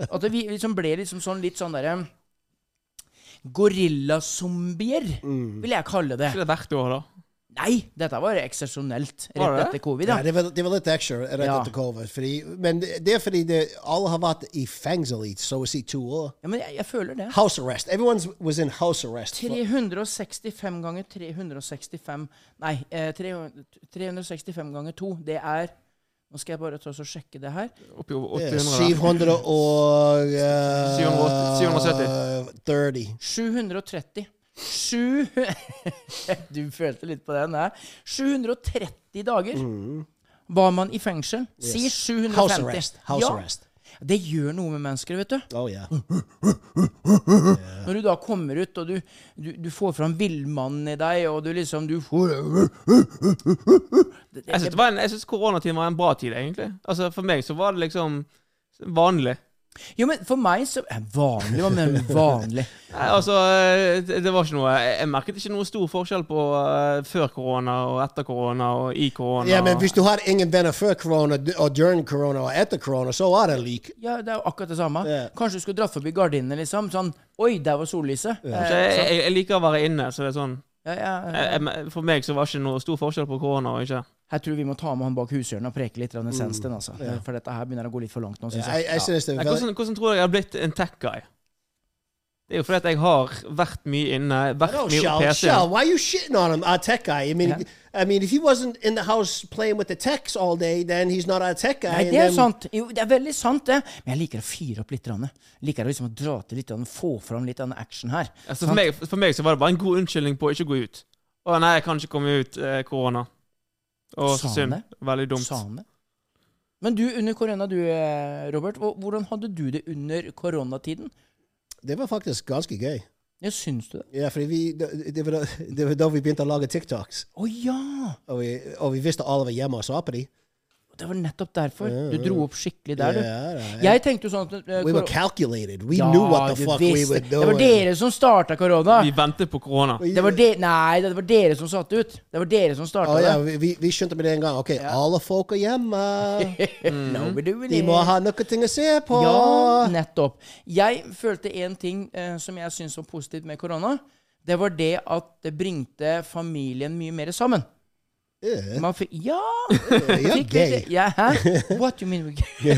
Speaker 2: At det, vi liksom ble liksom sånn litt sånn derre Gorillasombier,
Speaker 3: Mm.
Speaker 2: vil jeg kalle det.
Speaker 3: Er det hvert år, da?
Speaker 2: Nei, dette var eksepsjonelt rett
Speaker 3: Var det?
Speaker 2: etter covid.
Speaker 1: Ja,
Speaker 2: Ja.
Speaker 1: det var, det var litt ekstra rett
Speaker 2: Ja.
Speaker 1: etter covid. Fordi, men det det er fordi det, alle har vært i fengsel i så å si to år.
Speaker 2: Ja, men jeg, jeg føler det.
Speaker 1: House arrest. Everyone was in house arrest.
Speaker 2: 365 ganger 365 Nei, eh, 300 365 ganger 2, det er Nå skal jeg bare ta oss og sjekke det her.
Speaker 3: Oppi over
Speaker 1: Yeah, 700
Speaker 3: 800?
Speaker 1: og eh,
Speaker 3: 780,
Speaker 1: 30.
Speaker 2: 730. Sju Du følte litt på den der. 730 dager var man i fengsel. Si 750.
Speaker 1: Mm. House arrest. House
Speaker 2: ja,
Speaker 1: arrest.
Speaker 2: Det gjør noe med mennesker, vet du.
Speaker 1: Oh, yeah.
Speaker 2: Når du da kommer ut, og du, du, du får fram villmannen i deg, og du liksom Du får
Speaker 3: Jeg syns det var en- jeg syns koronatiden var en bra tid, egentlig. Altså, For meg så var det liksom vanlig.
Speaker 2: Jo, men for meg så eh, Vanlig, hva mener du med vanlig?
Speaker 3: Nei, altså, eh, det det var ikke noe Jeg jeg merket ikke noe stor forskjell på eh, før korona og etter korona og i korona.
Speaker 1: Ja, men hvis du har ingen venner før korona, d- og during korona og etter korona, så er det lik.
Speaker 2: Ja, det er jo akkurat det samme.
Speaker 1: Ja.
Speaker 2: Kanskje du skulle dratt forbi gardinene, liksom. Sånn Oi, der var sollyset.
Speaker 3: Så
Speaker 2: Eh,
Speaker 3: jeg, jeg, jeg liker å være inne, så det er sånn
Speaker 2: ja, ja,
Speaker 3: jeg, jeg, For meg så var det ikke noe stor forskjell på korona og ikke.
Speaker 2: Her tror jeg vi må ta med han bak hushjørnet og preke litt mm. sensten, altså. For dette her begynner å gå litt for langt nå, syns
Speaker 1: Jeg,
Speaker 2: jeg.
Speaker 1: jeg synes det
Speaker 3: Nei,
Speaker 1: er veldig...
Speaker 3: hvordan, hvordan tror du jeg har blitt en tech-guy? Det er jo fordi at jeg har vært mye inne, vært
Speaker 1: No,
Speaker 3: mye på
Speaker 1: Shell, Shell,
Speaker 3: PC-en.
Speaker 1: why you shitting on him? Our tech guy. I mean, I mean, if he wasn't in the house playing with the techs all day, then he's not our tech guy.
Speaker 2: Nei,
Speaker 1: and
Speaker 2: det er
Speaker 1: then-
Speaker 2: sant. Jo, det er veldig sant, det. Men jeg liker å fyre opp litt. Ranne. Liker å liksom å dra til litt, og få fram litt av den action her.
Speaker 3: Altså, for, meg, for meg så var det bare en god unnskyldning på å ikke gå ut. Å nei, jeg kan ikke komme ut eh, korona. Å,
Speaker 2: Sa
Speaker 3: så
Speaker 2: han
Speaker 3: synd.
Speaker 2: det?
Speaker 3: Veldig dumt.
Speaker 2: Sa han det? Men du, under korona, du, eh, Robert. hvor- Hvordan hadde du det under koronatiden?
Speaker 1: Det var faktisk ganske gøy.
Speaker 2: Ja, syns du det?
Speaker 1: Ja, fordi vi, det- det var da- det var da vi begynte å lage TikToks,
Speaker 2: Å ja!
Speaker 1: og vi, og vi visste alle var hjemme og så på de.
Speaker 2: Det var nettopp derfor. Du dro opp skikkelig der, du.
Speaker 1: Ja, ja,
Speaker 2: Jeg tenkte jo sånn at eh,
Speaker 1: We were
Speaker 2: koro-
Speaker 1: calculated. We
Speaker 2: Ja,
Speaker 1: knew what the
Speaker 2: du
Speaker 1: fuck we
Speaker 2: visste.
Speaker 1: were doing.
Speaker 2: Det var dere som starta korona.
Speaker 3: Vi venter på korona.
Speaker 2: Det var de, nei, det var dere som satte ut. Det var dere som starta
Speaker 1: Å ja,
Speaker 2: det.
Speaker 1: vi, vi, vi skjønte med det en gang. Ok, alle folk er hjemme.
Speaker 2: No, we're doing
Speaker 1: De
Speaker 2: it.
Speaker 1: må ha noe ting å se på.
Speaker 2: Ja, nettopp. Jeg følte én ting eh, som jeg syntes var positivt med korona. Det var det at det bringte familien mye mer sammen.
Speaker 1: Eh,
Speaker 2: Man fikk Ja!
Speaker 1: You're
Speaker 2: fikk litt-
Speaker 1: gay.
Speaker 2: Ja, hæ? What do you mean we're gay?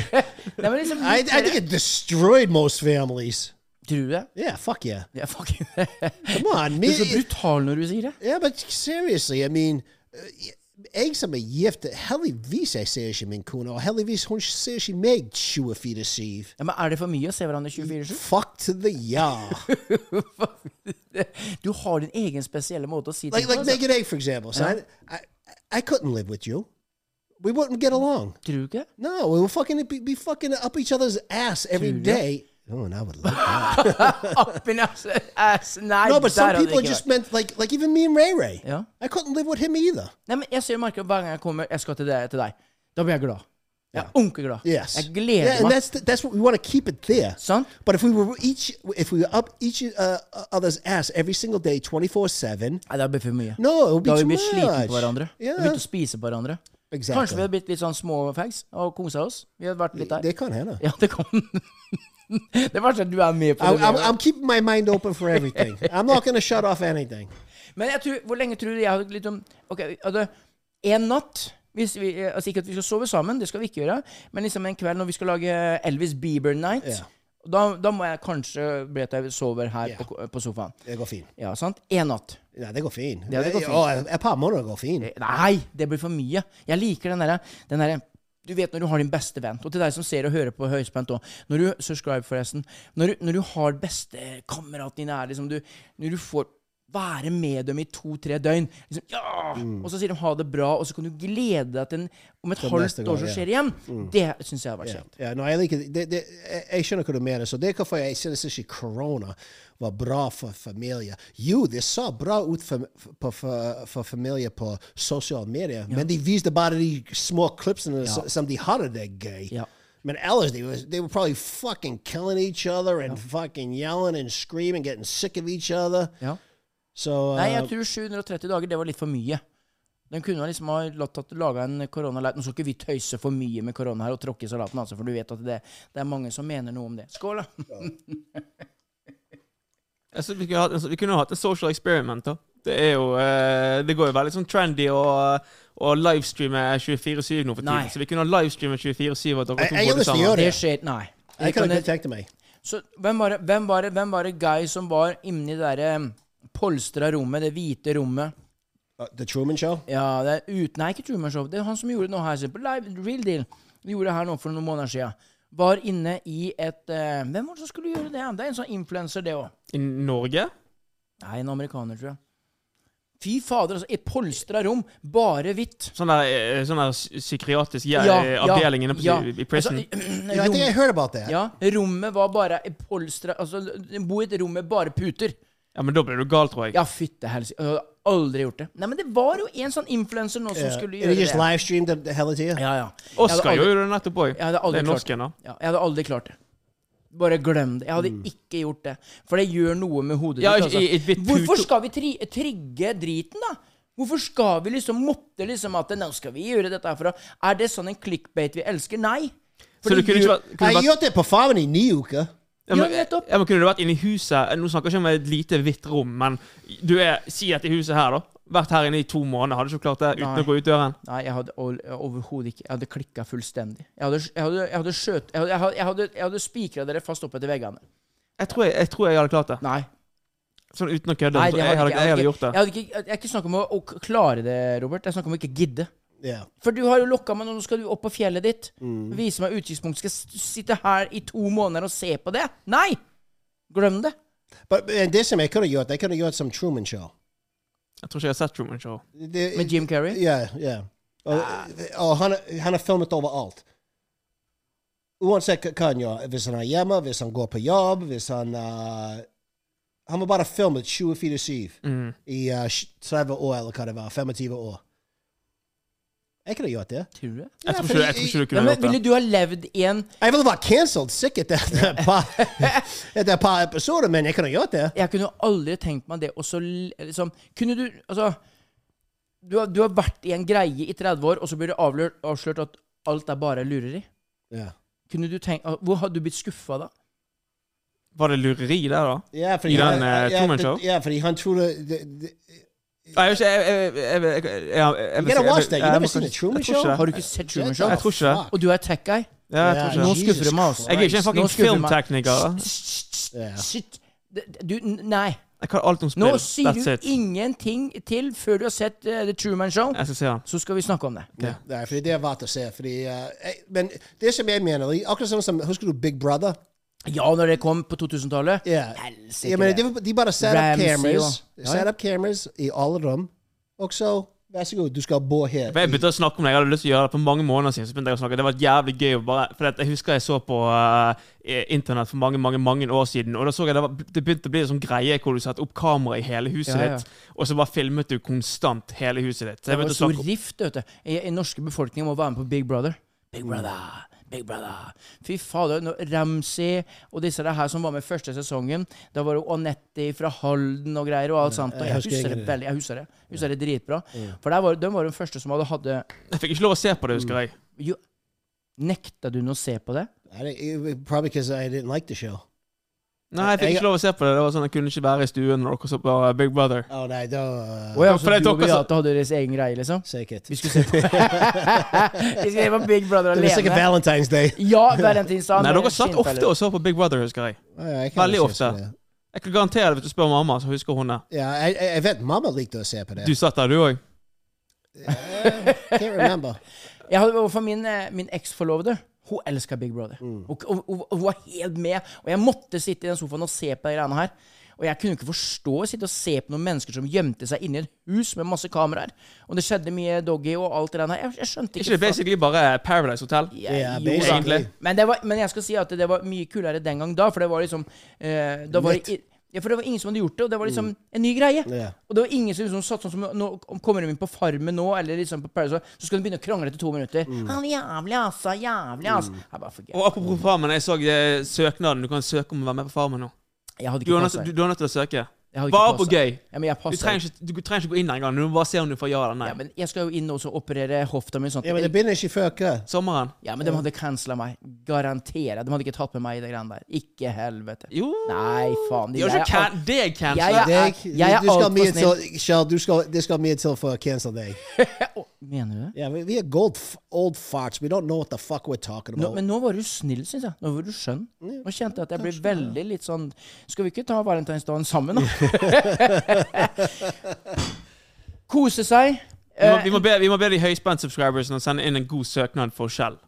Speaker 2: Nei, men liksom,
Speaker 1: I, I think it destroyed most families.
Speaker 2: Tror du det?
Speaker 1: Yeah, fuck yeah.
Speaker 2: Ja, fuck. Du
Speaker 1: Come on,
Speaker 2: er så
Speaker 1: me.
Speaker 2: brutal når du sier det.
Speaker 1: Yeah, but seriously, I mean, uh, eggs som är gift. Helligvis jag säger sig min kuna och helligvis hon säger sig mig 24 siv.
Speaker 2: Ja, men er det for mye å se hverandre 24-7?
Speaker 1: Fuck to the ja.
Speaker 2: Du har din egen spesielle måte å si ting
Speaker 1: like like
Speaker 2: på. altså.
Speaker 1: Naked Egg, for example. So I, I I couldn't live with you. We wouldn't get along.
Speaker 2: Tror du ikke?
Speaker 1: No, we would fucking be, be fucking up each other's ass every
Speaker 2: Dude.
Speaker 1: day. Oh, and I would like that.
Speaker 2: Up in ass, ass. Nei,
Speaker 1: no, but
Speaker 2: der
Speaker 1: some
Speaker 2: hadde
Speaker 1: people are
Speaker 2: det ikke
Speaker 1: just
Speaker 2: vært.
Speaker 1: meant like like even me and Ray Ray.
Speaker 2: uh, Yeah.
Speaker 1: I couldn't live with him either.
Speaker 2: Nei, men Jeg ser Markus hver gang jeg kommer Jeg skal til deg. Til deg. Da blir jeg glad. Jeg er ordentlig glad.
Speaker 1: Yes.
Speaker 2: Jeg gleder
Speaker 1: yeah, and
Speaker 2: meg. Sånn?
Speaker 1: that's the, that's what we want to keep it there.
Speaker 2: Sant?
Speaker 1: But if we were each if we were up each uh, other's ass every single day, twenty four seven.
Speaker 2: Nei, det blir for mye.
Speaker 1: No, it would be
Speaker 2: da
Speaker 1: too
Speaker 2: vi blir slitne
Speaker 1: much.
Speaker 2: på hverandre. Vi
Speaker 1: Yeah.
Speaker 2: Begynte å spise på hverandre.
Speaker 1: Exactly.
Speaker 2: Kanskje vi hadde blitt litt sånn små fags og kosa oss. Vi hadde vært litt der.
Speaker 1: They can't handle.
Speaker 2: Ja, det kom Det verste er at du er med på
Speaker 1: I,
Speaker 2: det.
Speaker 1: I'm, I'm keeping my mind open for everything. I'm not going to shut off anything.
Speaker 2: Men jeg tror, hvor lenge tror du jeg hadde litt om Ok, hadde en natt hvis vi, altså Ikke at vi skal sove sammen, det skal vi ikke gjøre, men liksom en kveld når vi skal lage Elvis Bieber Night,
Speaker 1: Ja.
Speaker 2: da, da må jeg kanskje bli at jeg sover her på, på sofaen.
Speaker 1: Det går fint.
Speaker 2: Ja, sant? En natt.
Speaker 1: Ja, det går fint.
Speaker 2: Ja, det går fint.
Speaker 1: Å, et par måneder går fint.
Speaker 2: Eh, Nei, det blir for mye. Jeg liker den derre den derre- Du vet når du har din beste venn, og til deg som ser og hører på Høyspent òg Når du subscribe forresten Når du, når du har bestekameraten din her, liksom du, Når du får være med dem i to-tre døgn liksom, ja!
Speaker 1: Mm.
Speaker 2: Og så sier de ha det bra, og så kan du glede deg til en, om et halvt
Speaker 1: neste gang,
Speaker 2: år så
Speaker 1: ja. Mm.
Speaker 2: skjer det igjen. Det syns jeg har vært
Speaker 1: Ja.
Speaker 2: kjekt.
Speaker 1: Ja, no, jeg, liker, det, det, jeg- jeg skjønner hva du mener, så det er hvorfor jeg synes ikke korona var bra for familier. Jo, det så bra ut for, for, for, for familier på sosiale medier, men de viste bare de små klipsene s- som de hadde det gøy.
Speaker 2: Ja.
Speaker 1: Men ellers, they, was, they were probably fucking killing each other and fucking yelling and screaming, getting sick of each other.
Speaker 2: Ja.
Speaker 1: So,
Speaker 2: Nei,
Speaker 1: uh,
Speaker 2: jeg tror 730 dager, det var litt for mye. Den kunne ha liksom ha latt at laga en koronaleit. Nå skal ikke vi tøyse for mye med korona her og tråkke i salaten, altså, for du vet at det, det er mange som mener noe om det. Skål, da!
Speaker 3: Altså, vi, kunne hatt, en- vi kunne hatt et social experiment, da. Det er jo eh, Det går jo veldig sånn trendy å å livestreame 24-7 nå for
Speaker 2: Nei.
Speaker 3: tiden. Så vi kunne ha livestreame 24-7 at dere
Speaker 1: Jeg-
Speaker 3: to
Speaker 1: jeg har
Speaker 3: bodde
Speaker 1: lyst til å gjøre
Speaker 3: sammen.
Speaker 1: det.
Speaker 2: Det skjer Nei.
Speaker 1: jeg kan ikke tenke meg.
Speaker 2: Så hvem var det, hvem var det, hvem var det guy som var inni det derre polstra rommet, det hvite rommet?
Speaker 1: Uh, The Truman Show?
Speaker 2: Ja, det er ut... Nei, ikke Truman Show. Det er han som gjorde det nå her. se På live, real deal. Vi gjorde det her nå for noen måneder siden. Var inne i et eh, Hvem var det som skulle gjøre det? Det er en sånn influenser, det òg.
Speaker 3: I Norge?
Speaker 2: Nei, en amerikaner, tror jeg. Fy fader, altså. Et polstra rom, bare hvitt.
Speaker 3: Sånn der, eh, sånn der psy- psykiatrisk ja,
Speaker 2: Ja,
Speaker 3: eh,
Speaker 2: ja,
Speaker 3: avdeling inne på,
Speaker 2: ja. Altså,
Speaker 3: i- i prison?
Speaker 1: Yeah, I think I
Speaker 2: Rom,
Speaker 1: heard about that.
Speaker 2: ja, rommet var bare et polstra Altså, bo i et rom med bare puter.
Speaker 3: ja, men da blir du gal, tror jeg.
Speaker 2: Ja, fytte helsike. Jeg hadde aldri gjort det. Nei, men det var jo en sånn influenser nå som
Speaker 1: Yeah.
Speaker 2: skulle
Speaker 1: And
Speaker 2: gjøre
Speaker 1: he just
Speaker 2: det.
Speaker 1: live streamed the, the hell out of you?
Speaker 2: Ja, ja. Jeg hadde
Speaker 3: Oscar
Speaker 2: aldri-
Speaker 3: gjorde det nettopp òg.
Speaker 2: Jeg hadde
Speaker 3: Det
Speaker 2: aldri
Speaker 3: er
Speaker 2: klart det.
Speaker 3: norsken, da.
Speaker 2: Ja, jeg hadde aldri klart det. Bare glem det. Jeg hadde ikke gjort det. For det gjør noe med hodet
Speaker 3: Ja,
Speaker 2: ditt. altså.
Speaker 3: i- i- i et hvitt
Speaker 2: Hvorfor
Speaker 3: pute-
Speaker 2: skal vi tri trigge driten, da? Hvorfor skal vi liksom måtte liksom at Nå skal vi gjøre dette herfra. Er det sånn en clickbait vi elsker? Nei. For
Speaker 3: Så du
Speaker 2: det
Speaker 3: kunne ikke
Speaker 2: gjør-
Speaker 3: vært,
Speaker 1: Jeg
Speaker 3: kunne
Speaker 1: har
Speaker 3: vært
Speaker 1: gjort det på farmen i ni uker.
Speaker 3: ja, men,
Speaker 2: Ja, nettopp.
Speaker 3: ja, men Kunne du vært inne i huset Nå snakker jeg ikke om et lite, hvitt rom, men du er Si at i huset her, da. Vært her inne i to måneder. Hadde du ikke klart det uten
Speaker 2: Nei.
Speaker 3: å gå ut døren?
Speaker 2: Nei, jeg hadde ol- overhodet ikke Jeg hadde klikka fullstendig. Jeg hadde, jeg hadde, jeg hadde skjøt... Jeg hadde, jeg hadde, jeg hadde, jeg hadde spikra dere fast opp etter veggene.
Speaker 3: Jeg tror jeg, jeg, tror jeg hadde klart det.
Speaker 2: Nei.
Speaker 3: Sånn uten å kødde.
Speaker 2: Nei
Speaker 3: jeg, jeg,
Speaker 2: ikke-
Speaker 3: hadde, jeg hadde
Speaker 2: ikke-
Speaker 3: gjort
Speaker 2: Jeg,
Speaker 3: det.
Speaker 2: hadde ikke, jeg er ikke snakk om å, å klare det, Robert. Jeg snakker om å ikke gidde.
Speaker 1: Ja.
Speaker 2: For du har jo lokka meg, nå, nå skal du opp på fjellet ditt.
Speaker 3: Mm.
Speaker 2: Vise meg utkikkspunkt. Skal jeg s- sitte her i to måneder og se på det? Nei! Glem det.
Speaker 1: But uh, det som jeg kunne gjort, jeg kunne gjort som Truman Show.
Speaker 3: Jeg tror ikke jeg har sett Truman Show.
Speaker 1: Det-
Speaker 2: Med Jim Carrey?
Speaker 1: Ja, ja. Og, og han, han har filmet overalt. Uansett hva hva han gjør. Hvis han er hjemme, hvis han går på jobb, hvis han uh, Han var bare filmet 24-7 i uh, 30 år, eller hva det var. 25 år. Jeg kunne gjort det.
Speaker 2: Tror du det?
Speaker 3: Jeg
Speaker 1: Ja,
Speaker 3: tror
Speaker 1: fordi
Speaker 3: ikke, jeg tror ikke du
Speaker 2: Ja,
Speaker 3: kunne
Speaker 2: men
Speaker 3: gjort
Speaker 2: ville
Speaker 3: det.
Speaker 2: du ha levd i en
Speaker 1: Jeg ville vært cancelled sikkert etter et par, etter et par episoder, men jeg kunne gjort det.
Speaker 2: Jeg kunne jo aldri tenkt meg det også l- liksom, Kunne du Altså du har, du har vært i en greie i 30 år, og så blir det avlørt, avslørt at alt er bare lureri.
Speaker 1: Ja,
Speaker 2: Kunne du tenkt ah, Hvor hadde du blitt skuffa da?
Speaker 3: Var det lureri der, da?
Speaker 1: ja fordi
Speaker 3: I den,
Speaker 1: han-
Speaker 3: eh,
Speaker 1: ja,
Speaker 3: Truman
Speaker 1: det-
Speaker 3: Show?
Speaker 1: Ja, fordi han trodde det, det,
Speaker 3: Nei, jeg vet ikke jeg- jeg- jeg- jeg- jeg- jeg-
Speaker 1: You gotta
Speaker 3: jeg-
Speaker 1: watch that. You
Speaker 3: jeg-
Speaker 1: never
Speaker 3: jeg-
Speaker 1: seen the
Speaker 3: jeg-
Speaker 1: Truman
Speaker 3: jeg tror ikke
Speaker 1: Show?
Speaker 3: det.
Speaker 2: Har du ikke sett Truman Show?
Speaker 3: Jeg tror ikke det.
Speaker 1: Fuck.
Speaker 2: Og du er tech guy.
Speaker 3: Ja, jeg tror
Speaker 1: Ja,
Speaker 3: ikke
Speaker 2: Nå
Speaker 3: det.
Speaker 1: Jesus
Speaker 2: skuffer du meg, altså.
Speaker 3: Jeg er ikke en
Speaker 2: Nå
Speaker 3: fucking
Speaker 2: skuffer du meg.
Speaker 3: filmtekniker.
Speaker 1: Ja.
Speaker 2: Shit. Det- Du, n- nei.
Speaker 3: Jeg kan alt om spill.
Speaker 2: Nå sier
Speaker 3: That's
Speaker 2: du
Speaker 3: it.
Speaker 2: ingenting til før du har sett eh, The Truman Show.
Speaker 3: Jeg skal se den.
Speaker 2: Så skal vi snakke om det.
Speaker 1: Nei, fordi det er verdt å se. Fordi, eh, jeg- men det som jeg mener Akkurat sånn som Husker du Big Brother?
Speaker 2: Ja, når det kom på 2000-tallet.
Speaker 1: Ja.
Speaker 2: Helsike.
Speaker 1: Jeg mener, de, de bare set up
Speaker 2: Ramsey
Speaker 1: cameras.
Speaker 2: og-
Speaker 1: Set up cameras eh, i alle rom. Og så, vær så god, du skal bo her.
Speaker 3: For Jeg begynte å snakke om det. Jeg hadde lyst til å gjøre det for mange måneder siden. Så begynte jeg å snakke Det var jævlig gøy å bare For at jeg husker jeg så på eh, internett for mange mange, mange år siden, og da så jeg det, var, det begynte å bli en sånn greie hvor du satte opp kamera i hele huset
Speaker 2: Ja, ja.
Speaker 3: ditt, og så bare filmet du konstant hele huset
Speaker 2: Det
Speaker 3: ditt. Så jeg
Speaker 2: var
Speaker 3: begynte å
Speaker 2: stor
Speaker 3: snakke om
Speaker 2: rift, vet du. I, I norske befolkningen må være med på Big Brother. Big Brother, Big Brother. Fy fader. når Ramsey og disse der her som var med første sesongen. Da var det Anetti fra Halden og greier og alt sånt. Og
Speaker 1: jeg
Speaker 2: jeg
Speaker 1: husker
Speaker 2: husker det
Speaker 1: ingen-
Speaker 2: veldig. Jeg husker det, jeg husker det dritbra. For der var, de var den første som hadde hadde
Speaker 3: Jeg fikk ikke lov å se på det, husker jeg.
Speaker 2: jo, Nekta du nå å se på det?
Speaker 1: I didn't- it was Probably because I didn't like the show.
Speaker 3: Nei, jeg fikk
Speaker 1: Jeg-
Speaker 3: ikke lov å se på det. Det var sånn Jeg kunne ikke være i stuen når dere så på eh, Big Brother.
Speaker 1: Å nei, da
Speaker 2: Å ja, så
Speaker 3: for det
Speaker 2: du og
Speaker 3: tok også-
Speaker 2: Beate hadde deres egen greie, liksom?
Speaker 1: Sikkert.
Speaker 2: Vi skulle se på Vi skulle se på Big Brother
Speaker 1: Det var sikkert
Speaker 2: alene.
Speaker 1: Valentine's Day.
Speaker 2: Ja, valentinsdagen.
Speaker 3: Nei,
Speaker 2: var
Speaker 3: dere
Speaker 2: en
Speaker 3: satt
Speaker 2: skinnfelle.
Speaker 3: ofte og så på Big Brother, husker jeg.
Speaker 1: Å, ja, jeg kan
Speaker 3: Veldig
Speaker 1: ikke se
Speaker 3: ofte.
Speaker 1: på det.
Speaker 3: Jeg kan garantere det hvis du spør mamma, så husker hun det.
Speaker 1: Ja, jeg, jeg jeg vet mamma likte å se på det.
Speaker 3: Du satt der, du òg.
Speaker 1: Can't remember.
Speaker 2: Jeg hadde overfor min, eh, min eksforlovede. Hun elska Big Brother.
Speaker 1: Mm.
Speaker 2: Og, og, og, og hun var helt med. Og jeg måtte sitte i den sofaen og se på de greiene her. Og jeg kunne ikke forstå å sitte og se på noen mennesker som gjemte seg inni et hus med masse kameraer. Og det skjedde mye doggy og alt det der. Jeg, jeg skjønte
Speaker 3: Ikke
Speaker 2: ikke
Speaker 3: det basically bare Paradise Hotel?
Speaker 2: Ja,
Speaker 1: Ja,
Speaker 2: jo, da.
Speaker 3: Egentlig.
Speaker 2: Men, det var, men jeg skal si at det var mye kulere den gang da, for det var liksom eh, da var det, i- ja, For det var ingen som hadde gjort det, og det var liksom en ny greie.
Speaker 1: Mm. Ja.
Speaker 2: Og det var ingen som liksom satt sånn som nå, om Kommer de inn på Farmen nå, eller liksom på Paradise, Hotel, så skal de begynne å krangle etter to minutter.
Speaker 1: Mm.
Speaker 2: Han jævlig, altså. Jævlig, altså. Jeg bare forget.
Speaker 3: Og apropos Farmen, jeg så eh, søknaden. Du kan søke om å være med på Farmen nå.
Speaker 2: Jeg hadde
Speaker 3: Du
Speaker 2: ikke
Speaker 3: er nødt,
Speaker 2: passa.
Speaker 3: du, du er nødt til å søke.
Speaker 2: Jeg hadde ikke
Speaker 3: Bare på
Speaker 2: passet.
Speaker 3: gøy.
Speaker 2: Ja, men jeg
Speaker 3: Du
Speaker 2: passet.
Speaker 3: trenger, ikke, du, trenger ikke gå inn der engang. Du må bare se om du får ja eller nei.
Speaker 2: Ja, men jeg skal jo inn og så operere hofta mi. Sånn.
Speaker 1: Ja, men det begynner ikke før hva?
Speaker 3: Sommeren?
Speaker 2: ja, men de hadde cancela meg. Garanterer. De hadde ikke tatt med meg i det greiene der. Ikke helvete.
Speaker 3: Jo
Speaker 2: Nei, faen.
Speaker 3: De har ikke
Speaker 2: er-
Speaker 3: can deg
Speaker 2: Jeg
Speaker 3: cancela.
Speaker 2: er-
Speaker 1: Deg,
Speaker 2: jeg er
Speaker 1: du skal
Speaker 2: alt for
Speaker 1: mye til, Kjell, du skal, det skal mye til for å cancel deg.
Speaker 2: Mener du det?
Speaker 1: Ja, vi, vi er gold, f- old farts. We don't know what the fuck we're talking
Speaker 2: Nå,
Speaker 1: about.
Speaker 2: men nå var du snill, syns jeg. Nå var du skjønn. Nå kjente jeg at jeg ble veldig litt sånn Skal vi ikke ta valentinsdagen sammen, da? Kose seg.
Speaker 3: Vi må,
Speaker 2: eh,
Speaker 3: vi, må be, vi må be de høyspent subscribers å sende inn en god søknad for Shell.
Speaker 2: Eh,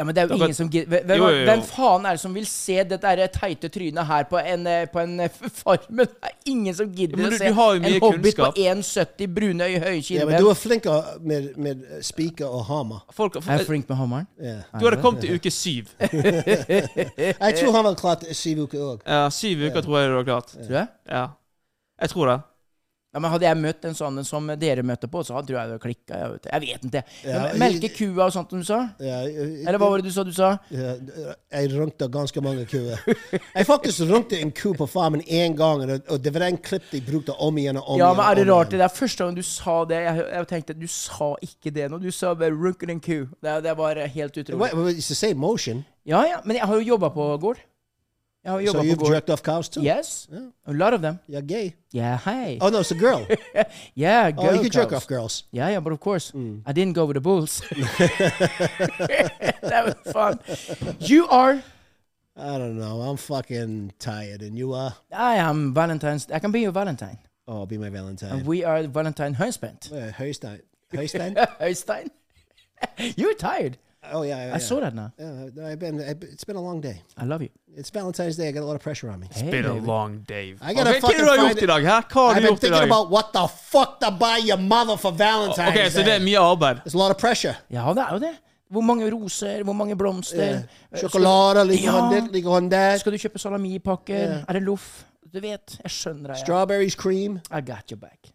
Speaker 2: Ja, men det er jo
Speaker 3: Dere-
Speaker 2: ingen som gidder hvem, hvem,
Speaker 3: Jo, jo, jo.
Speaker 2: hvem faen er det som vil se dette her teite trynet her på en, eh, på en eh, farmen? Det er ingen som
Speaker 3: Ja,
Speaker 2: gidder
Speaker 3: men du-
Speaker 2: å
Speaker 3: du
Speaker 2: se
Speaker 3: har jo
Speaker 2: en
Speaker 3: mye
Speaker 2: hobbit
Speaker 3: kunnskap.
Speaker 2: på 1,70 brune øy høye
Speaker 1: ja,
Speaker 2: kinn.
Speaker 1: men du er flink å- med, med eh, speaker og hammer.
Speaker 3: Folk,
Speaker 2: er jeg
Speaker 3: du
Speaker 2: flink med hammeren.
Speaker 1: Ja.
Speaker 3: hadde kommet til uke syv.
Speaker 1: Jeg tror han hadde klart syv uker òg.
Speaker 3: Ja, syv uker tror jeg du har klart.
Speaker 2: Tror jeg.
Speaker 3: Ja. Jeg tror det.
Speaker 2: Ja, men Hadde jeg møtt en sånn som dere møtte på, så hadde tror jeg det klikka. Jeg, vet- jeg vet ikke.
Speaker 1: Ja,
Speaker 2: Men Melke kua og sånt som du sa?
Speaker 1: Ja,
Speaker 2: Eller hva var det du sa du sa?
Speaker 1: Ja, jeg runkte ganske mange kuer. Jeg faktisk runkte en ku på farmen én gang, og det- og det var den klipp de brukte om igjen og om
Speaker 2: Ja,
Speaker 1: igjen.
Speaker 2: men er det
Speaker 1: og om
Speaker 2: rart?
Speaker 1: igjen.
Speaker 2: Det er første gang du sa det. Jeg, jeg tenkte du sa ikke det nå. Du sa bare 'runker and coo'. Det, det var helt utrolig.
Speaker 1: Wait, wait, it's the same motion.
Speaker 2: Ja, ja. Men jeg har jo jobba på gård. Jeg har jo
Speaker 1: So
Speaker 2: jobba på
Speaker 1: you've
Speaker 2: gård.
Speaker 1: jerked off cows too?
Speaker 2: Yes. A lot of them.
Speaker 1: You're gay.
Speaker 2: Yeah, hey.
Speaker 1: Oh no, it's a girl.
Speaker 2: Yeah,
Speaker 1: Oh,
Speaker 2: girl
Speaker 1: you can jerk
Speaker 2: cows.
Speaker 1: off Mm. girls.
Speaker 2: Yeah, yeah, but of course. I didn't go with the bulls. that was fun. You are
Speaker 1: I don't know. I'm fucking tired, and you are.
Speaker 2: I am Valentine's. I can be your Valentine.
Speaker 1: Oh, I'll be my
Speaker 2: And
Speaker 1: Valentine.
Speaker 2: we are Valentine Høyspent.
Speaker 1: Uh, Høystein. Høystein?
Speaker 2: Høystein? You're tired.
Speaker 1: Oh yeah, yeah.
Speaker 2: I saw that now.
Speaker 1: Yeah, no, I've been. I've, been- it's been a long day.
Speaker 2: I love you.
Speaker 1: It's Valentine's Day. I got a lot of pressure on me.
Speaker 2: Hey,
Speaker 3: Been a
Speaker 2: baby.
Speaker 3: long day.
Speaker 1: I
Speaker 2: Oh,
Speaker 3: Ok,
Speaker 1: gotta
Speaker 3: Hva har
Speaker 1: fucking
Speaker 3: du har
Speaker 1: find
Speaker 3: gjort
Speaker 1: it.
Speaker 3: i dag? Hæ? Hva har
Speaker 1: I've
Speaker 3: du
Speaker 1: been
Speaker 3: gjort i
Speaker 1: thinking
Speaker 3: dag?
Speaker 1: about what the fuck to buy your mother for Valentine's
Speaker 2: Oh,
Speaker 3: Ok,
Speaker 1: Day.
Speaker 3: Så det er mye arbeid?
Speaker 1: There's a lot of pressure.
Speaker 2: Ja, det er jo det. Hvor mange roser, hvor mange blomster? Eh,
Speaker 1: Sjokolade ligger
Speaker 2: Ja.
Speaker 1: han der, ligger han der.
Speaker 2: Skal, skal du kjøpe salamipakker? Er det loff? Du vet, jeg skjønner deg.
Speaker 1: Strawberries cream.
Speaker 2: I got your back.